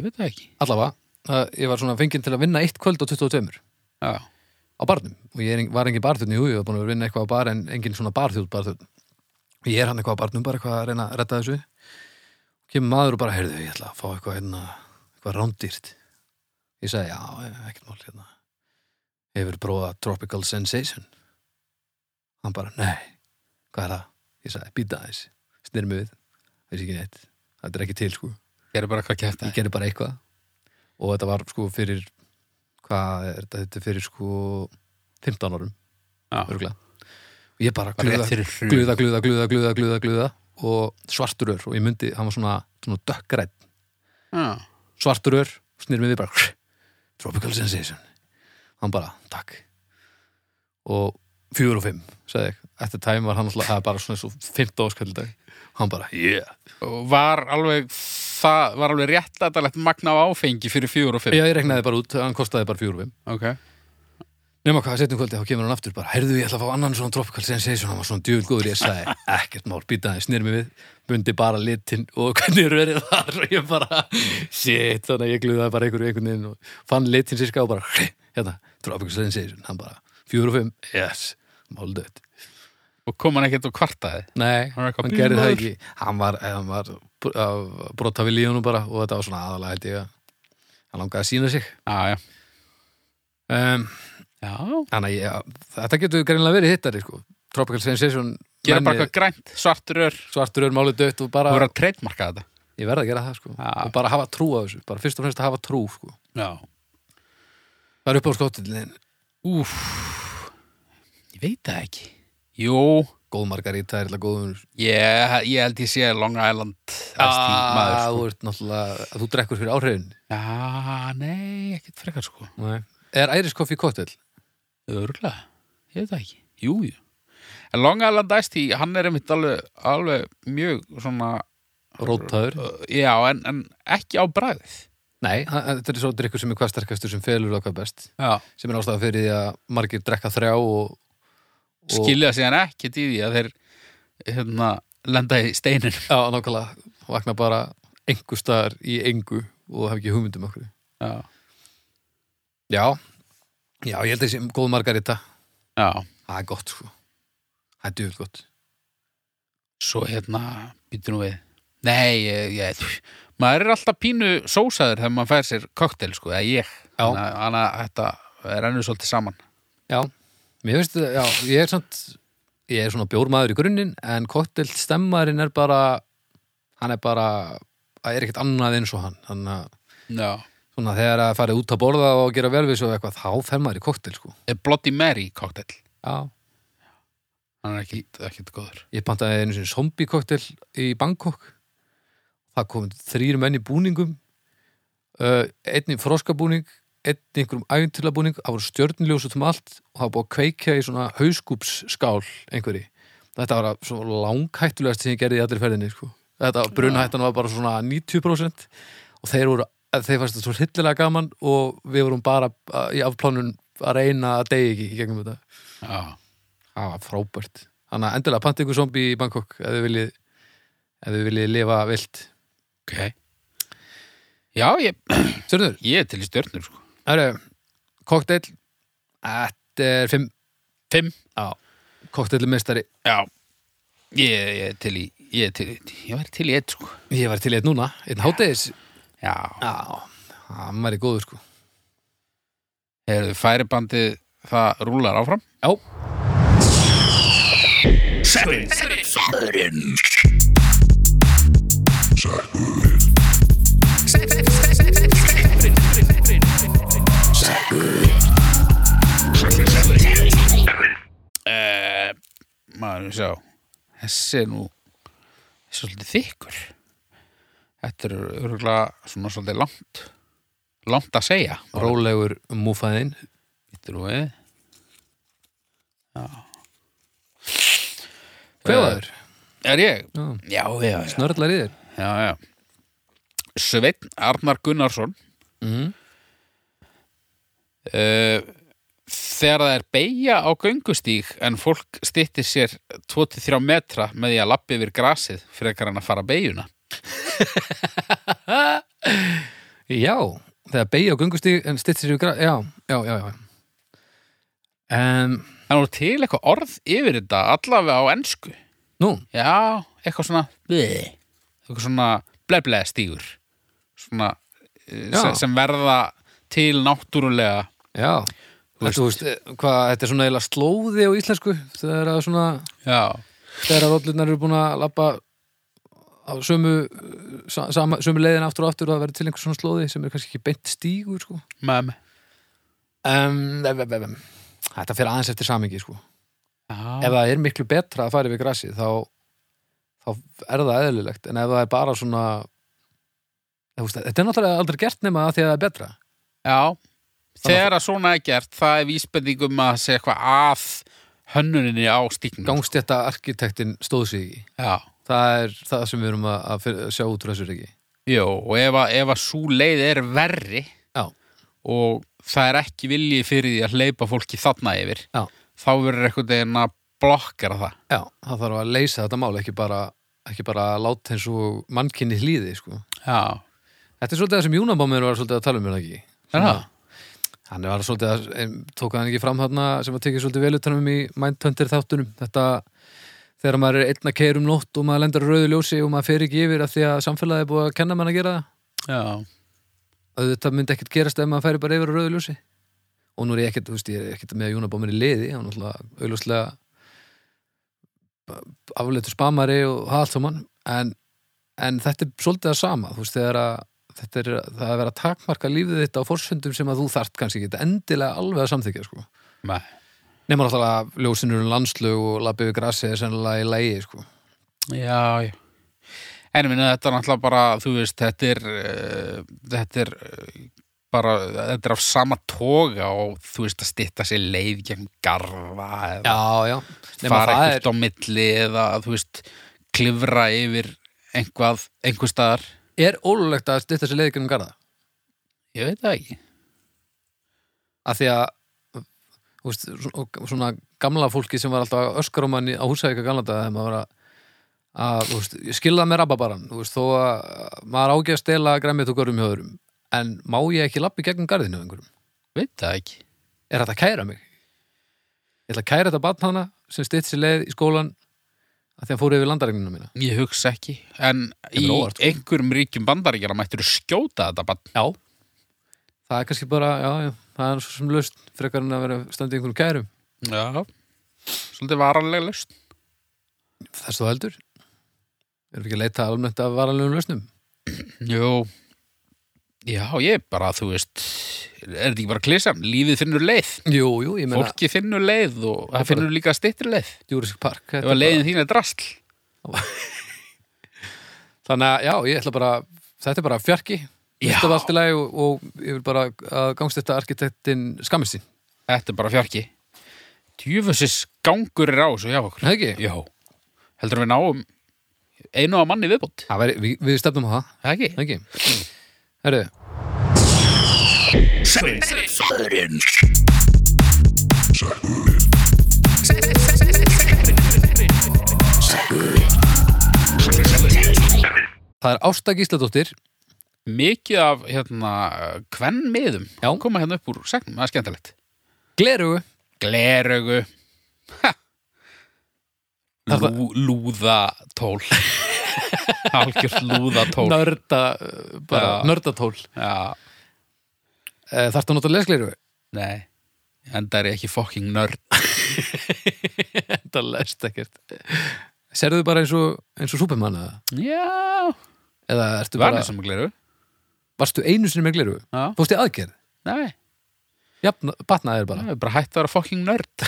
Speaker 1: ég veit það ekki
Speaker 2: allavega, að ég var svona fengið til að vinna eitt kvöld á 22
Speaker 1: Já,
Speaker 2: á barnum og ég er, eng- var engin barþjóðn í hugi og búin að vera að vinna eitthvað á bar en engin svona barþjóðn barþjóðn ég er hann eitthvað á barnum bara eitthvað að reyna að retta þessu kemur maður og bara heyrðu ég ætla að fá eitthvað hérna eitthvað rándýrt e, ég sagði já, ekkert mál hérna hefur prófað Tropical Sensation Hann bara, nei, hvað er það? Ég sagði, býta aðeins, snýr mig við Þessi ekki neitt, þetta er ekki til sko
Speaker 1: Gerðu bara hvað kæft
Speaker 2: Ég gerði bara eitthvað Og þetta var sko fyrir Hvað er þetta, þetta er fyrir sko 15 árum,
Speaker 1: það.
Speaker 2: örgulega Og ég bara
Speaker 1: Bara rétt
Speaker 2: gluða,
Speaker 1: fyrir hrun.
Speaker 2: gluða, gluða, gluða, gluða, gluða, gluða Og svartur ör Og ég myndi, hann var svona, svona dökkrænn
Speaker 1: Já.
Speaker 2: svartur ör snýr mig við bara tropical sensation hann bara, takk og fjögur og fimm, sagði ég eftir tæmi var hann alltaf, það er bara svona svo 15 áskall í dag, hann bara, yeah
Speaker 1: Og var alveg, það var alveg réttlætalegt magna á áfengi fyrir fjögur og fimm.
Speaker 2: já, ég regnaði bara út, hann kostaði bara fjögur og fimm
Speaker 1: Ok.
Speaker 2: nema hvað, setjum kvöldi, þá kemur hann aftur bara, heyrðu, ég ætla að fá annan svona tropical sensation hann var svona djöfn góður, ég sagði, ekkert mál býtaði, snýr mig við, bundi bara litin og hvernig rörið var og ég bara, shit, þannig að ég gluðaði bara einhverju einhvern veginn og fann litin sérska og bara, hérna, tropical sensation hann bara, fjögur og fimm, yes máldöð,
Speaker 1: Og kom hann ekkert og kvartaði.
Speaker 2: nei,
Speaker 1: Hann var eitthvað
Speaker 2: hann gerði það
Speaker 1: bílaður.
Speaker 2: ekki hann var, hann var brotta við lífunum bara og þetta var svona aðalega held ég að hann langaði að sína sig
Speaker 1: Já, já.
Speaker 2: um,
Speaker 1: Já.
Speaker 2: Þannig að ég- þetta getur greinlega verið hittari sko. Tropical Sensation
Speaker 1: Gerðu bara
Speaker 2: menni-
Speaker 1: eitthvað grænt, svartur ör.
Speaker 2: svartur ör máli dött og bara
Speaker 1: Þú verður að treytmarka þetta.
Speaker 2: ég verð að gera það sko.
Speaker 1: Já.
Speaker 2: og bara hafa trú á þessu bara fyrst og fremst að hafa trú sko.
Speaker 1: Já.
Speaker 2: það er upp á skóttilin
Speaker 1: Úf. Ég veit það ekki. Jú.
Speaker 2: góð margarita er eitthvað góður
Speaker 1: Ég, ég held ég sé Long Island Ice Tea maður. sko.
Speaker 2: þú ert náttúrulega að þú drekkur fyrir áhrifin
Speaker 1: Já, nei, ekkert frekar sko.
Speaker 2: Nei. er æriskoffi kóttill
Speaker 1: Örgulega, ég veit það ekki Jú, jú En Long Island Ice Tea, hann er einmitt alveg, alveg mjög svona
Speaker 2: rótaður
Speaker 1: uh, Já, en, en ekki á bræðið
Speaker 2: nei, hann- þetta er svo drikkur sem er hvað sterkastur sem felur það hvað best
Speaker 1: Já
Speaker 2: sem er ástæða fyrir því að margir drekka þrjá og, og
Speaker 1: Skilja síðan ekkert í því að þeir hérna, lenda í steinin
Speaker 2: já, nákvæmlega vakna bara engu staðar í engu og hef ekki hugmyndum okkur
Speaker 1: Já,
Speaker 2: Já, já, ég held að þessi góð margarita
Speaker 1: já
Speaker 2: Það er gott sko Það er djúvel gott
Speaker 1: Svo hérna, býtum við Nei, ég, ég Maður er alltaf pínu sósaður þegar maður fær sér koktel, sko, eða ég
Speaker 2: Já.
Speaker 1: Þannig að- Þannig að þetta er ennur svolítið saman
Speaker 2: Já, mér finnst það, já, ég er samt Ég er svona bjórmaður í grunninn En kottelt stemmarinn er bara Hann er bara Það er ekkert annað eins og hann Þannig að
Speaker 1: Já
Speaker 2: svona, þegar að fara út að borða og gera vel við svo eitthvað Þá fer maður í kottel sko
Speaker 1: Er Bloody Mary koktel
Speaker 2: Já
Speaker 1: Hann er ekkit, ekkit góður
Speaker 2: Ég pantaði einu sinni zombie koktel í Bangkok Það kom þrýr menn í búningum uh, einn í froskabúning einn í einhverjum æfintilabúning það voru stjörnljósut um allt og það var búið að kveikja í svona hauskúpsskál einhverji. Þetta var að- svo langhættulegast sem ég gerði í allir ferðinni sko. Þetta brunahættan var bara svona 90% og þeir voru að þeir fannst þetta svo hryllilega gaman og við vorum bara uh, í afplánun að reyna að degi ekki í gegnum þetta
Speaker 1: Já
Speaker 2: Það var frábært. Þannig að endilega panta ykkur zombi í Bangkok ef þið viljið, ef þið viljið lifa vilt.
Speaker 1: Ok. Já, ég,
Speaker 2: Stjörnur,
Speaker 1: ég er til í stjörnur, sko.
Speaker 2: það eru kokteil, þetta er fimm,
Speaker 1: Fimm?
Speaker 2: já, kokteilumestari.
Speaker 1: Já. Ég, ég er til í, ég er til í, ég væri til í eitt, sko.
Speaker 2: Ég var til í eitt núna, einn hátæðis.
Speaker 1: Já.
Speaker 2: Já, hann væri góður sko.
Speaker 1: Hefur Eh, færibandið, það rúlar áfram?
Speaker 2: Já,
Speaker 1: Eh, maður, við sjá. Þessi er nú, þessi er svolítið þykkur. Þetta er örgulega svona svolítið langt, langt að segja.
Speaker 2: rólegur múfaðinn.
Speaker 1: Þetta er við.
Speaker 2: Kvefaður,
Speaker 1: Er ég?
Speaker 2: Já.
Speaker 1: Já, já, já.
Speaker 2: snörðlar í þér.
Speaker 1: Já, já. Sveinn Arnar Gunnarsson
Speaker 2: Mhm.
Speaker 1: Eh, Þegar það er beigja á göngustíg en fólk styttir sér 23 metra með því að lappi yfir grasið frekar en að fara beigjuna
Speaker 2: Já, þegar beigja á göngustíg en stytt sér yfir græ... Já, já, já, já. Um,
Speaker 1: Það er nú til eitthvað orð yfir þetta allavega á ensku
Speaker 2: nú,
Speaker 1: Já, eitthvað svona bleh, eitthvað svona bleblega stígur svona eh,
Speaker 2: Já.
Speaker 1: sem, sem verða til náttúrulega
Speaker 2: já, Þetta, þú veist, eh, hvað, þetta er svona eiginlega slóði á íslensku þegar að svona
Speaker 1: Já,
Speaker 2: þegar að rollurnar eru búin að lappa á sömu eh, sa- sama, sömu leiðin aftur og aftur og það verður til einhver svona slóði sem er kannski ekki beint stígur sko.
Speaker 1: með mig
Speaker 2: um, em, em, em, em. Þetta fyrir aðeins eftir samingi sko.
Speaker 1: Já,
Speaker 2: ef það er miklu betra að fara yfir grassi þá, þá er það eðlilegt en ef það er bara svona þú veist, þetta er náttúrulega aldrei gert nema að því að það er betra
Speaker 1: já. Þegar að svona er gert, það er vísbendingum að segja eitthvað að hönnuninni á
Speaker 2: Mm.
Speaker 1: stíknum.
Speaker 2: gangstétta arkitektin stóð sig ekki
Speaker 1: Já,
Speaker 2: það er það sem við erum að, að fyr- sjá út úr þessu reiki
Speaker 1: Jó, og ef að, ef að svo leið er verri
Speaker 2: já,
Speaker 1: og það er ekki vilji fyrir því að hleypa fólki þarna yfir,
Speaker 2: já,
Speaker 1: þá verður eitthvað deginn að blokkara það.
Speaker 2: já, það þarf að leysa þetta mál ekki bara, ekki bara að láta eins og mannkinni hlýði sko.
Speaker 1: Já,
Speaker 2: þetta er svolítið það sem Júnabómur var svolítið að tala um er það ekki
Speaker 1: er það?
Speaker 2: hann var svolítið að, em, tók hann ekki fram þarna sem að tekið svolítið vel utanum í Mindhunter þáttunum þetta þegar maður er einn að keira um nótt og maður lendur á rauðu ljósi og maður fer ekki yfir af því að samfélagið er búið að kenna mann að gera það
Speaker 1: Já,
Speaker 2: auðvitað myndi ekkert gerast ef maður færi bara yfir á rauðu ljósi og nú er ég ekkert, þú veist, ég er ekkert með að Júna Bómir í liði, hann er alltaf auðvitað afleitur spamari og haltumann en, en þetta er svolítið að sama þú veist, þegar að þetta er það er að vera að takmarka lífið þitt á forsöndum sem að þú þart kannski ekki endilega alveg að samþykja sko.
Speaker 1: með,
Speaker 2: nema náttúrulega ljósinur um landslög og labbi við grassi er sennilega í lægi sko.
Speaker 1: já, já. En minna, þetta er náttúrulega bara, þú veist, þetta er, uh, þetta er uh, bara, þetta er af sama toga og þú veist að stytta sér leið gegn garða eða
Speaker 2: já, já, nema
Speaker 1: fara
Speaker 2: það er
Speaker 1: ekkert á milli eða, þú veist, klifra yfir einhvað, einhver staðar.
Speaker 2: er ólulegt að styrta sér leiðið um garða
Speaker 1: Ég veit það ekki.
Speaker 2: af því að þú veist, svona- svona gamla fólki sem var alltaf öskar á manni á húsæðika gamla daga þegar maður var að, að þú veist, ég skilða með rababaran þú veist, þó að maður ágæð að stela græmið og görum hjá öðrum en má ég ekki lappi gegnum garðinu á einhverjum
Speaker 1: Ég veit það ekki.
Speaker 2: er þetta að kæra mig ég ætla að kæra þetta batn hana sem stytt sér leið í skólan að því að fóru yfir landaregnina mína
Speaker 1: Ég hugsa ekki. En í
Speaker 2: Kemur óvart, sko.
Speaker 1: einhverjum ríkjum bandaríkjana mættir skjóta þetta bann.
Speaker 2: já, það er kannski bara já, já, það er svo sem löst frekar en að vera standið einhverjum kærum
Speaker 1: Já. Svolítið varanlega lust.
Speaker 2: þess þú heldur erum við ekki að leita almennt af varanlegum lösnum
Speaker 1: Jú. Já, ég er bara, þú veist, er þetta ekki bara klísan? Lífið finnur leið.
Speaker 2: Jú, jú, ég meina
Speaker 1: Fólki finnur leið og það finnur líka styttri leið.
Speaker 2: Jurassic Park þetta
Speaker 1: Ef að
Speaker 2: er
Speaker 1: leiðin þín er drastl.
Speaker 2: bara, Þannig að, já, ég ætla bara þetta er bara fjarki
Speaker 1: Já.
Speaker 2: Þetta var allt í lagi og, og ég vil bara að gangst þetta arkitektin skammist sín
Speaker 1: Þetta er bara fjarki. Djöfusis gangur er á þessu hjá okkur.
Speaker 2: Nei, ekki?
Speaker 1: Já. Heldur við náum einu að manni viðbútt.
Speaker 2: Það væri, við, við stefnum á það,
Speaker 1: Ekki?
Speaker 2: ekki? Mm. Herru, það er Ásta Gísladóttir
Speaker 1: mikið af hérna kvennmiðum
Speaker 2: Já.
Speaker 1: koma hérna upp úr segnum, það er skemmtilegt
Speaker 2: Glerugu
Speaker 1: Gleraugu Ha!
Speaker 2: Það
Speaker 1: Lú, Lúðatól Algjörst lúðatól
Speaker 2: Nörda, uh, bara,
Speaker 1: Já.
Speaker 2: nördatól
Speaker 1: Já,
Speaker 2: Þarftu að nota lesglerugu?
Speaker 1: nei Enda er ég ekki fucking nörd
Speaker 2: Þetta lest ekkert Serðu bara eins og, eins og Superman eða?
Speaker 1: Já,
Speaker 2: Eða ertu
Speaker 1: var
Speaker 2: bara,
Speaker 1: eins og með gleraugu
Speaker 2: varstu einu sinni með glerugu?
Speaker 1: Já.
Speaker 2: Fórstu í aðgerð?
Speaker 1: Nei,
Speaker 2: Jafn, batnaði þér bara
Speaker 1: það er bara hætt að vera fucking nörd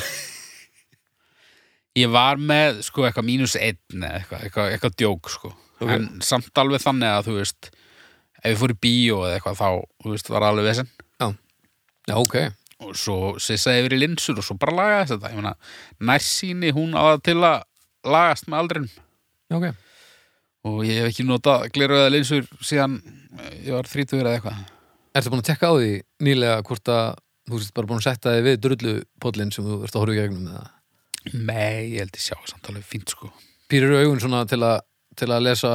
Speaker 1: Ég var með sko eitthvað mínus einn eða eitthvað, eitthvað, eitthvað djók sko
Speaker 2: Ok.
Speaker 1: en samt alveg þannig að þú veist ef ég fór í bíó eða eitthvað þá þú veist, var alveg vesinn
Speaker 2: Já, ok
Speaker 1: og svo sissaði yfir í linsur og svo bara lagaðist þetta ég meina, nærsýni hún á það til að lagast með aldrin
Speaker 2: Já, ok
Speaker 1: og ég hef ekki notað gleruða linsur síðan eh, ég var 30 eða eitthvað
Speaker 2: Ertu búin að tekka á því nýlega hvort að þú sést bara búin að setja þig við drullupóllin sem þú ert að horfa í gegnum með það
Speaker 1: Nei, ég held ég sjá samt alveg fínt sko
Speaker 2: Pýrir augun svona til að, til að lesa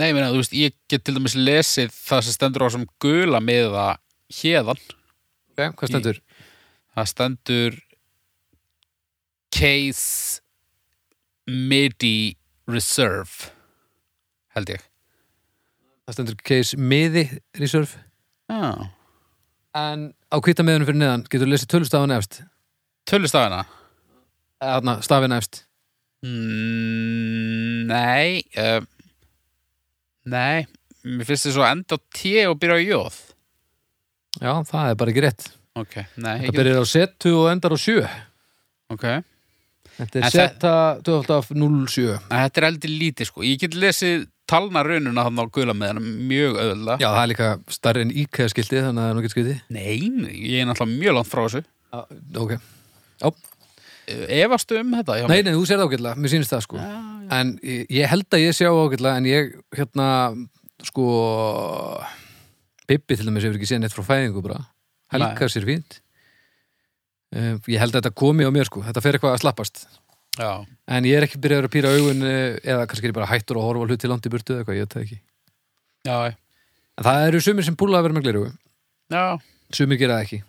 Speaker 1: Nei, ég meina, þú veist, ég get til dæmis lesið það sem stendur á sem gula miða hérðan.
Speaker 2: okay, hvað stendur?
Speaker 1: Það stendur Case MIDI Reserve, held ég.
Speaker 2: Það stendur case miði reserve
Speaker 1: Já.
Speaker 2: en á kvítamiðunum fyrir neðan getur lesið tölustafan efst
Speaker 1: Tölustafina?
Speaker 2: Þarna, stafin efst
Speaker 1: Mm, nei uh, Nei Mér finnst þið svo enda á T og byrja á jóð
Speaker 2: Já, það er bara ekki rétt
Speaker 1: Ok, nei,
Speaker 2: Það
Speaker 1: ekki
Speaker 2: byrjar á setu og endar á sjö
Speaker 1: Ok En
Speaker 2: Þetta er
Speaker 1: En
Speaker 2: seta 12.07
Speaker 1: Þetta er eldi lítið sko Ég get lesið talna raununa þannig á gula með hana mjög öðla
Speaker 2: Já, það er líka starri en íkæðaskildi þannig að það er nú getur skriði
Speaker 1: Nei, ég er náttúrulega mjög langt frá þessu
Speaker 2: Ok,
Speaker 1: Eh, Efastu um þetta? Já,
Speaker 2: nei, nei, þú sér það ágætlega, mér sýnist það sko
Speaker 1: Já, já.
Speaker 2: En ég ég held að ég sjá ágætlega en ég, hérna, sko Bibbi til dæmis hefur ekki séð neitt frá fæðingu bara Helga sér fínt Eh, Ég held að þetta komi á mér sko, þetta fer eitthvað að slappast
Speaker 1: já.
Speaker 2: En ég er ekki byrjaður að pýra augun eh, eða kannski er ég bara hættur að horfa á hluti langt í burtu eða eitthvað, ég veit það ekki.
Speaker 1: Já,
Speaker 2: En það eru sumir sem búla að vera með glerugu,
Speaker 1: já,
Speaker 2: sumir gera það ekki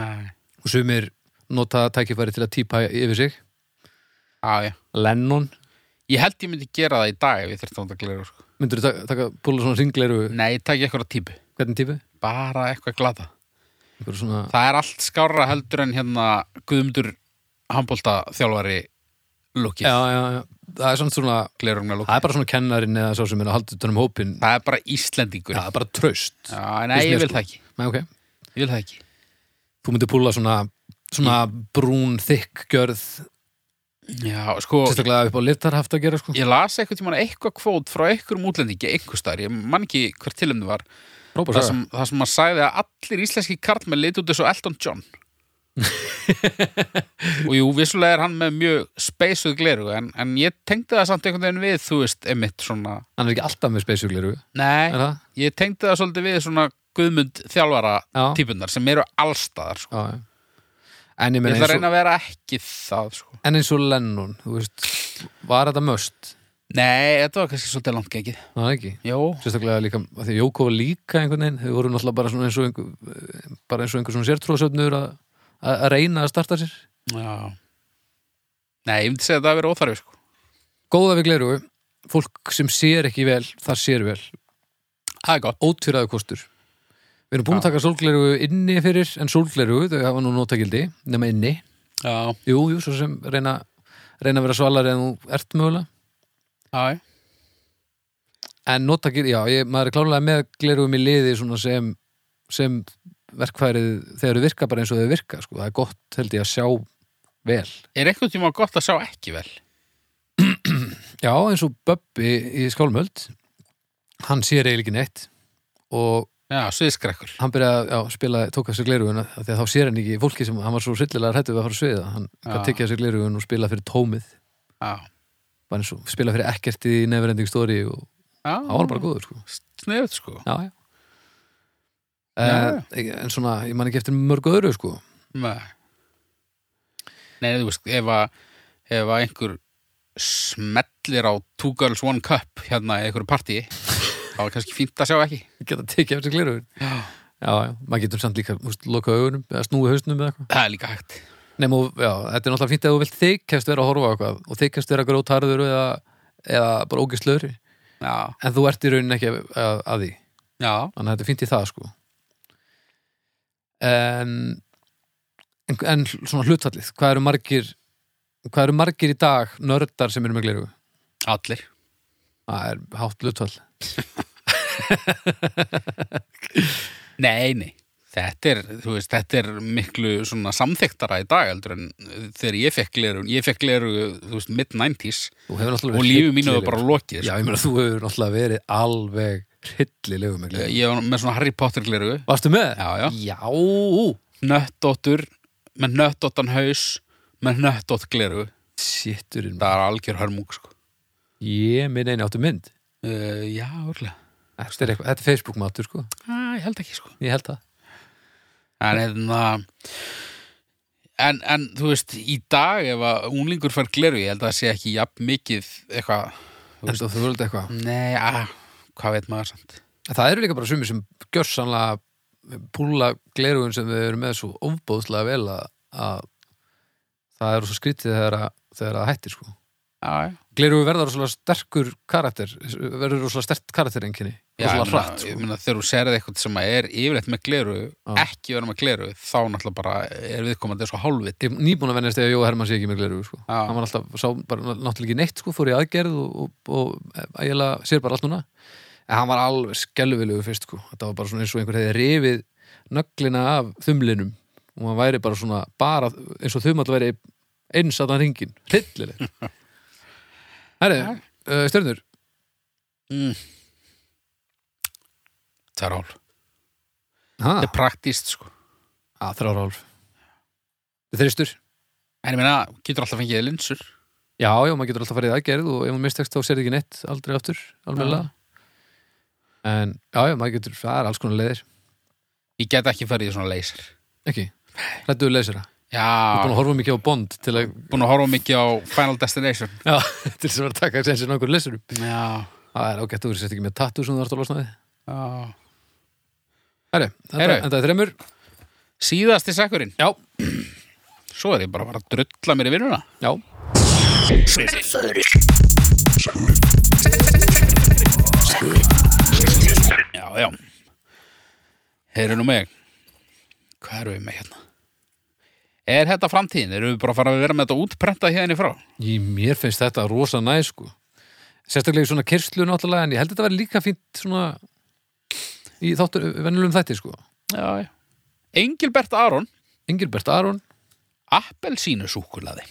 Speaker 1: nei,
Speaker 2: og sumir nota tækifæri til að típa yfir sig.
Speaker 1: já, já.
Speaker 2: Lennon,
Speaker 1: Ég held ég myndi gera það í dag ef ég þurfti að nota gleru, sko.
Speaker 2: myndur þú taka búla svona ringlerugu,
Speaker 1: Nei, ég takk eitthvað típu,
Speaker 2: hvernig típu?
Speaker 1: bara eitthvað glata.
Speaker 2: Einhver svona,
Speaker 1: Það er allt skára heldur en hérna Guðmundur handbólta þjálfari lukið,
Speaker 2: já,
Speaker 1: ja.
Speaker 2: já, já, það er svona svona,
Speaker 1: glerugna lukið.
Speaker 2: það er bara svona kennarinn eða sá sem er að halda utan um hópin,
Speaker 1: Það er bara Íslendingur. Já,
Speaker 2: það er bara tröst.
Speaker 1: nei,
Speaker 2: Finnst mér,
Speaker 1: ég vil
Speaker 2: sko.
Speaker 1: það ekki,
Speaker 2: Nei, ok,
Speaker 1: ég vil það ekki.
Speaker 2: þú myndir búla svona, svona brún, þykk, gjörð,
Speaker 1: Já, sko,
Speaker 2: sérstaklega upp á litar haft að gera sko.
Speaker 1: ég las eitthvað tímann eitthvað kvót frá einhverjum útlendingi, einhver staðar, ég man ekki hver tilum var,
Speaker 2: Própa
Speaker 1: það sem, það sem maður sagði að allir íslenski karlmenn leit út þessu Elton John og jú, vissulega er hann með mjög speisuð gleru en, en ég tengdi það samt einhvern veginn við þú veist, emitt svona
Speaker 2: Hann er ekki alltaf með spesjugleru, er
Speaker 1: nei,
Speaker 2: það?
Speaker 1: ég tengdi það svolítið við svona guðmund þjálfara
Speaker 2: Já.
Speaker 1: típunar sem eru allstaðar sko.
Speaker 2: Já, já. En ég
Speaker 1: ég
Speaker 2: meina
Speaker 1: ætla
Speaker 2: eins
Speaker 1: að
Speaker 2: og,
Speaker 1: reyna að vera ekki það sko.
Speaker 2: en eins og Lennon, þú veist, var þetta möst?
Speaker 1: nei, þetta var kannski svolítið langt gengið
Speaker 2: Það er ekki.
Speaker 1: jú,
Speaker 2: Sérstaklega líka, af því að Jóko var líka einhvern veginn, þau voru náttúrulega bara svona eins og einhver, bara eins og einhver svona sértróðsöfnur að, að að reyna að starta sér.
Speaker 1: já nei, ég myndi segja að það að vera óþarfi sko.
Speaker 2: Góða við gleru, fólk sem sér ekki vel, það sér vel.
Speaker 1: það er gott
Speaker 2: Ótvíraðu kostur. Við erum búin að
Speaker 1: Já.
Speaker 2: taka sólgleru inni fyrir, en sólgleru, þau hafa nú notagildi, nema inni.
Speaker 1: já,
Speaker 2: Jú, jú, svo sem reyna, reyna að vera svalari en þú ert mögulega.
Speaker 1: já, já.
Speaker 2: en nota gil, já, ég, maður er klárlega með glerugum í liði svona sem, sem verkfærið þegar þau virka bara eins og þau virka, sko, það er gott held ég að sjá vel.
Speaker 1: er einhvern tíma gott að sjá ekki vel
Speaker 2: Já, eins og Böbbi í Skálmöld hann sér eiginlega ekki neitt og
Speaker 1: já, sviðskrekkur
Speaker 2: hann byrjaði að já, spila, tók að sér gleruguna því að þá sér hann ekki fólki sem, hann var svo hryllilega hrættu við að fara að sviða, hann
Speaker 1: Já.
Speaker 2: gæti tekið að sér glerugun og spila fyrir tómið,
Speaker 1: já,
Speaker 2: bara eins og spila fyrir ekkert í nefnverending story og
Speaker 1: já,
Speaker 2: hann var bara góður, sko.
Speaker 1: sniðut sko
Speaker 2: já, já.
Speaker 1: Já,
Speaker 2: Eh, en svona, ég man ekki eftir mörg öðru sko.
Speaker 1: Nei, Nei, þú veist, ef að, ef að einhver smellir á Two Girls One Cup hérna í einhverju partíi þá er kannski fínt að sjá ekki
Speaker 2: geta tekið eftir glerugur
Speaker 1: Já.
Speaker 2: já, já, maður getur samt líka úst, loka augunum eða snúi hausnum eða eitthvað
Speaker 1: Það er líka hægt
Speaker 2: Nefn, og, já, þetta er náttúrulega fínt að þú vilt þykjast vera að horfa á eitthvað og þykjast vera grótarður eða, eða bara ógislauri
Speaker 1: Já,
Speaker 2: en þú ert í rauninni ekki að, að, að því
Speaker 1: já,
Speaker 2: þannig að þetta er fínt í það sko en, en, en svona hlutfallið hvað eru margir hvað eru margir í dag nördar sem eru með glerugu
Speaker 1: allir
Speaker 2: það er hátt hlutfall
Speaker 1: Nei, nei, þetta er, þú veist, þetta er miklu svona samþyktara í dag heldur en þegar ég fekk leru ég fekk leru, þú veist, mid-90s
Speaker 2: Þú hefur náttúrulega
Speaker 1: og
Speaker 2: verið
Speaker 1: lífið mínu var
Speaker 2: hryllilegur.
Speaker 1: bara lokið
Speaker 2: Já,
Speaker 1: sko.
Speaker 2: ég meina þú hefur náttúrulega verið alveg hryllilegu með glerugu
Speaker 1: sko. Ég var með svona Harry Potter leru
Speaker 2: Varstu með?
Speaker 1: Já, já
Speaker 2: Já,
Speaker 1: nöttóttur með nöttóttan haus með nöttótt gleru
Speaker 2: sitturinn
Speaker 1: það er algjör hörmung sko.
Speaker 2: Ég minn einu áttu mynd
Speaker 1: uh, já, örgulega
Speaker 2: Þetta er, eitthvað- þetta er Facebook matur sko,
Speaker 1: ah, ég held ekki sko
Speaker 2: ég held það
Speaker 1: en, hérna, en, en þú veist, í dag ef að unglingur fær gleru, ég held að það sé ekki jafn mikið eitthvað
Speaker 2: En þú þú veist eitthvað
Speaker 1: nei, að, hvað veit maður samt
Speaker 2: Það eru líka bara sumir sem gjörsanlega púla glerugun sem við erum með svo ofbóðslega vel að, að það eru svo skrítið þegar, að, þegar það hættir sko
Speaker 1: já, já,
Speaker 2: Glerugu verður rosalega sterkur karakter verður rosalega stert karakter enginni
Speaker 1: Já,
Speaker 2: rosalega
Speaker 1: ég meina-
Speaker 2: hratt, sko.
Speaker 1: ég meina, þegar þú serði eitthvað sem er yfirleitt með gleru, ekki verið með gleru þá náttúrulega bara er viðkomandi svo hálfvit
Speaker 2: Ég er nýbúin að vennast ef Jóa Hermann sé ekki með gleru sko.
Speaker 1: Já.
Speaker 2: hann var alltaf, sá bara náttúrulega ekki neitt sko, fór í aðgerð og, og, og ægilega sér bara allt núna en hann var alveg skelvilegu fyrst sko. þetta var bara svona eins og einhver hefði rifið nöglina af þumlinum og hann væri bara svona bara, eins og þumall væri eins að hann hringin hryllileg Herri,
Speaker 1: Já.
Speaker 2: uh, stjörnur
Speaker 1: mm. Það er hálf
Speaker 2: ha,
Speaker 1: Það er praktíst sko
Speaker 2: að, þrjára hálf þristur
Speaker 1: En ég meina, getur alltaf fengið linsur
Speaker 2: Já, já, maður getur alltaf farið í aðgerð og ef maður mistekst þá serði ekki neitt aldrei aftur, alveglega En, já, já, maður getur, það er alls konar leiðir
Speaker 1: Ég get ekki farið í svona leysir
Speaker 2: Ekki, hrættuðu leysara Ég er búin
Speaker 1: Já,
Speaker 2: að horfa mikið á Bond til að,
Speaker 1: búin að horfa mikið á Final Destination
Speaker 2: já, til þess að vera að taka þessi á einhverjum leysurum
Speaker 1: Já,
Speaker 2: Það er ágætt, þú verður sett ekki með tattoo sem þú þarfst að losna við
Speaker 1: já
Speaker 2: Herri, þetta
Speaker 1: Herri.
Speaker 2: þetta er þremur
Speaker 1: Síðasti sekkurinn,
Speaker 2: Já,
Speaker 1: svo er ég bara að fara að drulla mér í vinnuna
Speaker 2: já,
Speaker 1: Já, já Heyrðu nú mig Hvað erum við með hérna? Er þetta framtíðin? Erum við bara að fara að vera með þetta útprentað hérna í frá?
Speaker 2: í mér finnst þetta rosa næ, sko Sérstaklega í svona kyrslu náttúrulega en ég held að þetta verið líka fínt svona í þáttur, venjulegum þætti, sko
Speaker 1: Já, já Engilbert Aron,
Speaker 2: Engilbert Aron,
Speaker 1: appelsínusúkulaði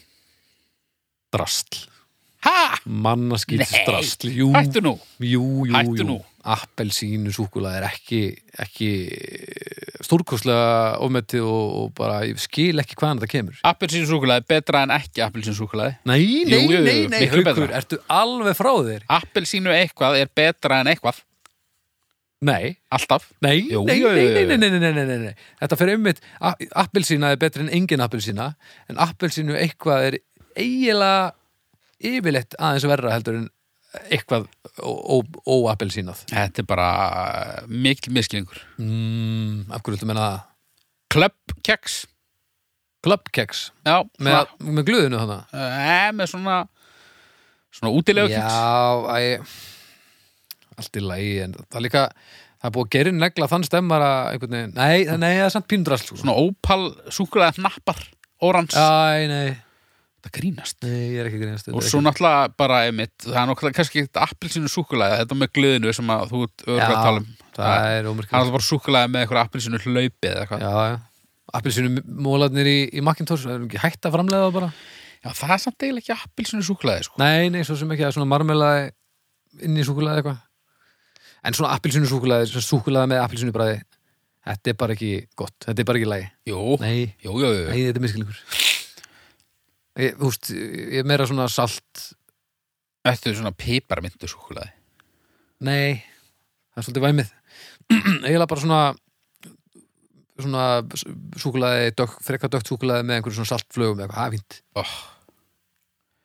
Speaker 2: drastl
Speaker 1: Ha?
Speaker 2: Mannaskýtis
Speaker 1: Nei,
Speaker 2: drastl, jú
Speaker 1: Hættu nú
Speaker 2: Jú, jú,
Speaker 1: Hættu
Speaker 2: jú.
Speaker 1: nú.
Speaker 2: Appelsínu súkulaði er ekki, ekki eh, stórkostlega ofmetið og, og bara ég skil ekki hvaðan þetta kemur.
Speaker 1: Appelsínusúkulaði betra en ekki appelsínusúkulaði
Speaker 2: Nei,
Speaker 1: Jú, jú, jú, miklu
Speaker 2: Haukur,
Speaker 1: betra.
Speaker 2: ertu alveg frá þér?
Speaker 1: Appelsínu eitthvað er betra en eitthvað
Speaker 2: Nei,
Speaker 1: Alltaf
Speaker 2: nei,
Speaker 1: Jú,
Speaker 2: nei,
Speaker 1: jú,
Speaker 2: nei,
Speaker 1: jú,
Speaker 2: nei,
Speaker 1: jú.
Speaker 2: nei, nei, nei, nei, nei, nei. Þetta fyrir einmitt, a- appelsína er betri en engin appelsína, en appelsínu eitthvað er eiginlega yfirleitt aðeins verra heldur en eitthvað ó- ó- óappelsínað.
Speaker 1: Þetta er bara eh, mikil miskilningur
Speaker 2: Mm, af hverju ertu að menna það?
Speaker 1: Club keks
Speaker 2: Klubbkeks
Speaker 1: Já, svona,
Speaker 2: með, með glöðinu þannig
Speaker 1: eh, með svona Svona útilegu keks
Speaker 2: Já, æ, allt í lagi en það er líka, það er búið að gera inn negla þann stemmar að einhvern veginn, nei, það- nei, það er samt píndrasl sko.
Speaker 1: Svona ópal súkulaði hnappar Órans,
Speaker 2: Æ, nei,
Speaker 1: það grínast
Speaker 2: nei, ég er ekki greinast
Speaker 1: Og svo náttúrulega bara einmitt Það er náttúrulega kannski appelsínu súkulaði Þetta með glöðinu sem að þú ert örugglega að tala um
Speaker 2: það er ómyrkjum
Speaker 1: Það er bara súkulaði með einhver appelsínu hlaupi eða eitthvað
Speaker 2: Já, já, appelsinu mólarnir í, í Macintosh, það er ekki hægt að framlega það bara
Speaker 1: Já, það er samt eiginlega ekki appelsinu súkulaði sko.
Speaker 2: Nei, nei, svo sem ekki að svona marmelaði inn í súkulaði eitthvað En svona appelsinu súkulaði, svona súkulaði með appelsinu bræði Þetta er bara ekki gott, þetta er bara ekki í lagi
Speaker 1: Jú,
Speaker 2: Nei,
Speaker 1: jú, jú, jú.
Speaker 2: Nei, þetta er miskilingur ég, Þú veist, ég er meira svona salt
Speaker 1: Þetta er svona piparmyndu súkulaði
Speaker 2: Nei, það er svolítið væmið Eiginlega bara svona svona súkulaði, dök, frekka dögt súkulaði með einhverjum svona saltflögum eða eitthvað, það er fínt
Speaker 1: oh.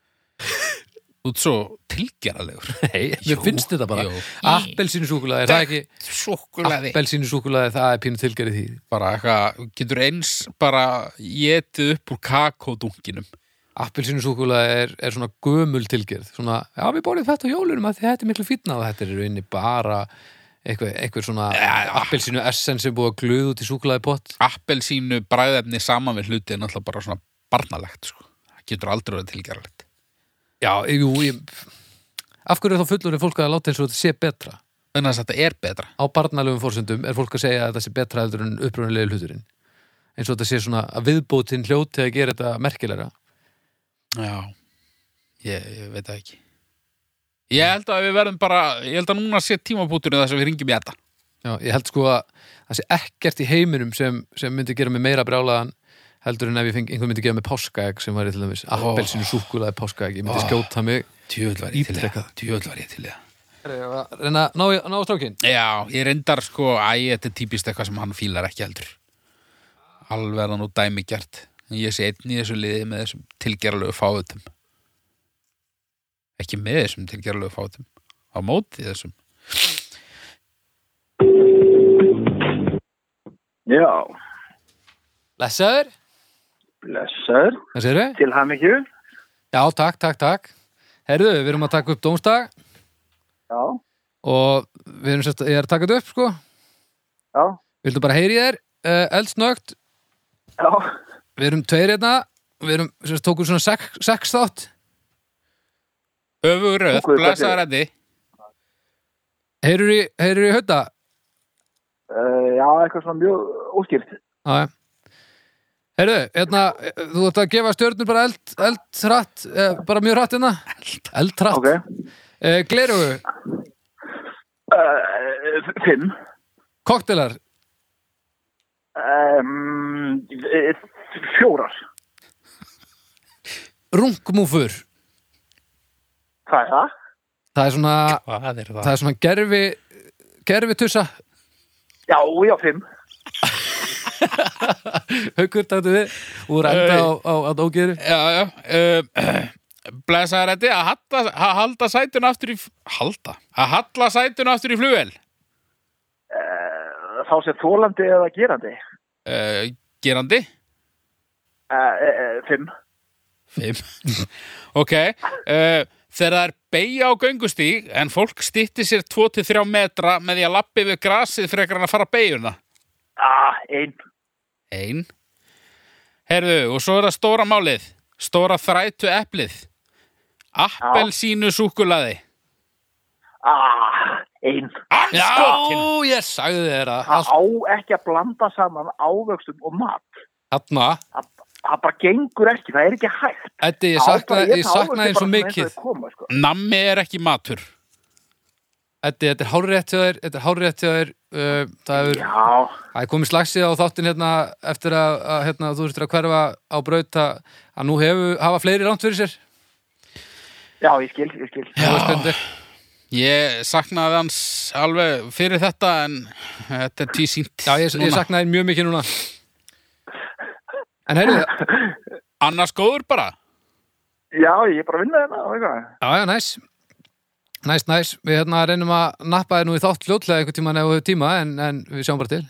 Speaker 1: Þú ert svo tilgerðalegur
Speaker 2: Nei, mér finnst þetta bara Ah,
Speaker 1: jú.
Speaker 2: Appelsínu súkulaði, það er ekki
Speaker 1: Súkulaði
Speaker 2: Appelsínu súkulaði, það er pínu tilgerið því
Speaker 1: Bara eitthvað, þú getur eins bara getið upp úr kakódunginum
Speaker 2: Appelsínu súkulaði er, er svona gömul tilgerð svona, já, við borðum þetta á jólunum að því þetta er miklu fínna og þetta er í rauninni bara eitthvað, eitthvað svona appelsínu essens sem er búið að glöðu út í súkulaði pott
Speaker 1: Appelsínu bræðefni saman við hluti er náttúrulega bara svona barnalegt sko. Það getur aldrei verið tilgerðalegt
Speaker 2: Já, jú, ég Af hverju er þá fullurinn fólk að láta eins og þetta sé betra?
Speaker 1: Þannig að þetta er betra
Speaker 2: Á barnalegum fórsöndum er fólk að segja að þetta sé betra heldur en upprunalegi hluturinn eins og þetta sé svona að viðbótin hljóti að gera þetta merkilega
Speaker 1: Já, ég, ég veit það ekki Ég held að við verðum bara Ég held að núna sé tímabúturinn þess að við ringjum í þetta
Speaker 2: Já, ég held sko að það sé ekkert í heiminum sem, sem myndi gera mig meira brjálaðan heldur en ef ég feng, einhver myndi gera mig páskaegg sem væri til dæmis appelsinu súkulaði páskaegg ég myndi skjóta mig
Speaker 1: Tjöfull var ég til í
Speaker 2: Ítrekað.
Speaker 1: það Tjöfull var ég til í það
Speaker 2: reyna að ná, ná strákin
Speaker 1: Já, ég reyndar sko, æ, þetta er típist eitthvað sem hann fílar ekki heldur. Alveg er það nú dæmigjart. Ég sé einn í þessu liði með þessum tilgerlegu fáutum. Ekki með þessum tilgerlegu fáutum. Á móti þessum.
Speaker 4: Já,
Speaker 2: Blessaður,
Speaker 4: blessaður,
Speaker 2: hvað segir við?
Speaker 4: til hamingju.
Speaker 2: Já, takk, takk, takk Herðu, við erum að taka upp dómstag
Speaker 4: Já,
Speaker 2: og við erum sérst, ég er að taka þetta upp sko
Speaker 4: Já,
Speaker 2: vildu bara heyri þér, uh, eldsnögt
Speaker 4: já,
Speaker 2: við erum tveir hérna við erum, sérst, tókum svona sex, sex þátt
Speaker 1: Öfugur röð,
Speaker 4: Tók við
Speaker 1: blæsaður eddi
Speaker 2: heyrur í, heyrur í hönda
Speaker 4: uh, já, eitthvað svona mjög óskýrt.
Speaker 2: Aðe. Heyrðu, hérna, eh, þú ætti að gefa stjörnur bara eld, eldrætt, eh, bara mjög rætt hérna. Eldrætt.
Speaker 4: Ok.
Speaker 2: Okay. Eh, Glerugu,
Speaker 4: Uh, fimm.
Speaker 2: koktelar,
Speaker 4: Um, fjórar.
Speaker 2: rungmúfur.
Speaker 4: Hvað er það?
Speaker 2: Það er svona,
Speaker 1: Hvað er það?
Speaker 2: það er svona gerfi, gerfi tussa.
Speaker 4: Já, já, fimm.
Speaker 2: Haukur, takk við, úr enda á, á, á ógeru.
Speaker 1: Já, já uh, Blæsaður eddi að, hatta, að halda sætun aftur í f- Halda? Að halla sætun aftur í flugvel
Speaker 4: Uh, þá sé þólandi eða gerandi.
Speaker 1: uh, Gerandi
Speaker 4: Uh, uh, fimm.
Speaker 1: Fimm Ok uh, Þegar það er beigja á göngustíg en fólk stýtti sér 2-3 metra með því að lappi við grasið frekar hann að fara beigjuna
Speaker 4: Ah, ein.
Speaker 1: Ein Herðu, og svo er það stóra málið Stóra þrætu eplið Appelsínu súkulaði
Speaker 4: Ah, ein.
Speaker 2: Sko,
Speaker 1: Anskotin
Speaker 2: Já, ég sagði þér að
Speaker 4: Það
Speaker 2: allt
Speaker 4: á ekki að blanda saman ávöxtum og mat.
Speaker 2: þarna.
Speaker 4: Það, það bara gengur ekki, það er ekki hægt.
Speaker 2: Þetta ég saknaði, ég saknaði eins og mikið.
Speaker 4: Koma, sko.
Speaker 1: Nammi er ekki matur
Speaker 2: Þetta þetta er hárrétt hjá þér, þetta er hárrétt hjá þér. Uh, það hefur
Speaker 4: Já,
Speaker 2: Það er komið slagsið á þáttin hérna eftir að, að hérna, þú ertur að hverfa á braut að, að nú hefur, hafa fleiri rámt fyrir sér.
Speaker 4: já, ég skil, ég skil.
Speaker 2: Já. Veist,
Speaker 1: Ég saknaði hans alveg fyrir þetta en þetta er tvísýnt
Speaker 2: Já, ég, ég sakna þér mjög mikið núna. En heyrðu, já,
Speaker 1: Annars góður bara
Speaker 4: Já, ég er bara að vinna þetta og eitthvað.
Speaker 2: já, næs. Næs, næs. Við hérna reynum að nappa þér nú í þátt fljótlega einhvern tíma nefnum við tíma en, en við sjáum bara til.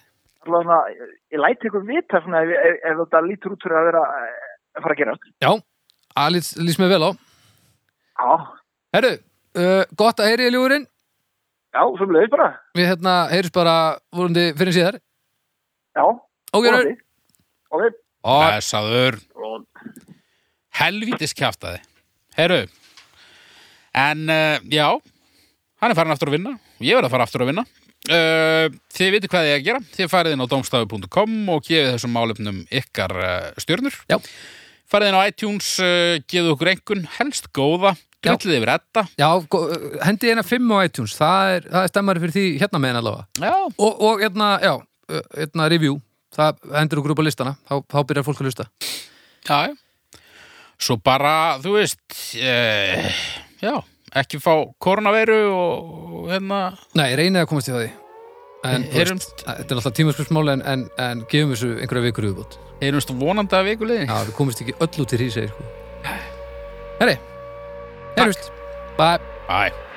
Speaker 4: Alla Svona, ég, ég læti ykkur vita svona ef, ef, ef þetta lítur út fyrir að vera eh, að fara að gera.
Speaker 2: Já, að lýs, lýs mig vel á.
Speaker 4: Já,
Speaker 2: Heyrðu, uh, gott að heyri ég ljúurinn.
Speaker 4: já, sem leiðis bara.
Speaker 2: Við hérna heyrjum bara vorandi fyrir síðar.
Speaker 4: Já.
Speaker 2: Ógjörður.
Speaker 4: vonandi. Ok.
Speaker 2: Og
Speaker 1: Blessaður
Speaker 4: og-
Speaker 1: Helvítis kjaftaði Herru En uh, já Hann er farin aftur að vinna Ég verð að fara aftur að vinna uh, Þið vitið hvað ég er að gera Þið farið inn á domstafu.com og gefið þessum málefnum ykkar uh, stjörnur
Speaker 2: Já.
Speaker 1: Farið inn á iTunes uh, gefið okkur einhvern helst góða
Speaker 2: Já.
Speaker 1: Drullið yfir þetta
Speaker 2: Já, gó- hendi hérna 5 á iTunes, það er, það er stemmari fyrir því hérna meðin allavega.
Speaker 1: Já
Speaker 2: Og, og hérna, já, uh, hérna review, það hendur okkur upp á listana, þá, þá byrjar fólk að lusta.
Speaker 1: Já, já. Svo bara, þú veist, eh, já, ekki fá koronaveiru og og hérna,
Speaker 2: Nei, ég reyni að komast í það því. En, þú
Speaker 1: Heyrumst.
Speaker 2: veist, að- þetta er alltaf tímaskursmál en, en, en gefum þessu einhverja vikur yfirbútt.
Speaker 1: erum stu vonandi að vikuliðin.
Speaker 2: Já, við komumst ekki öll út í hrísið, sko. Herri, herrust, bye.
Speaker 1: Æ.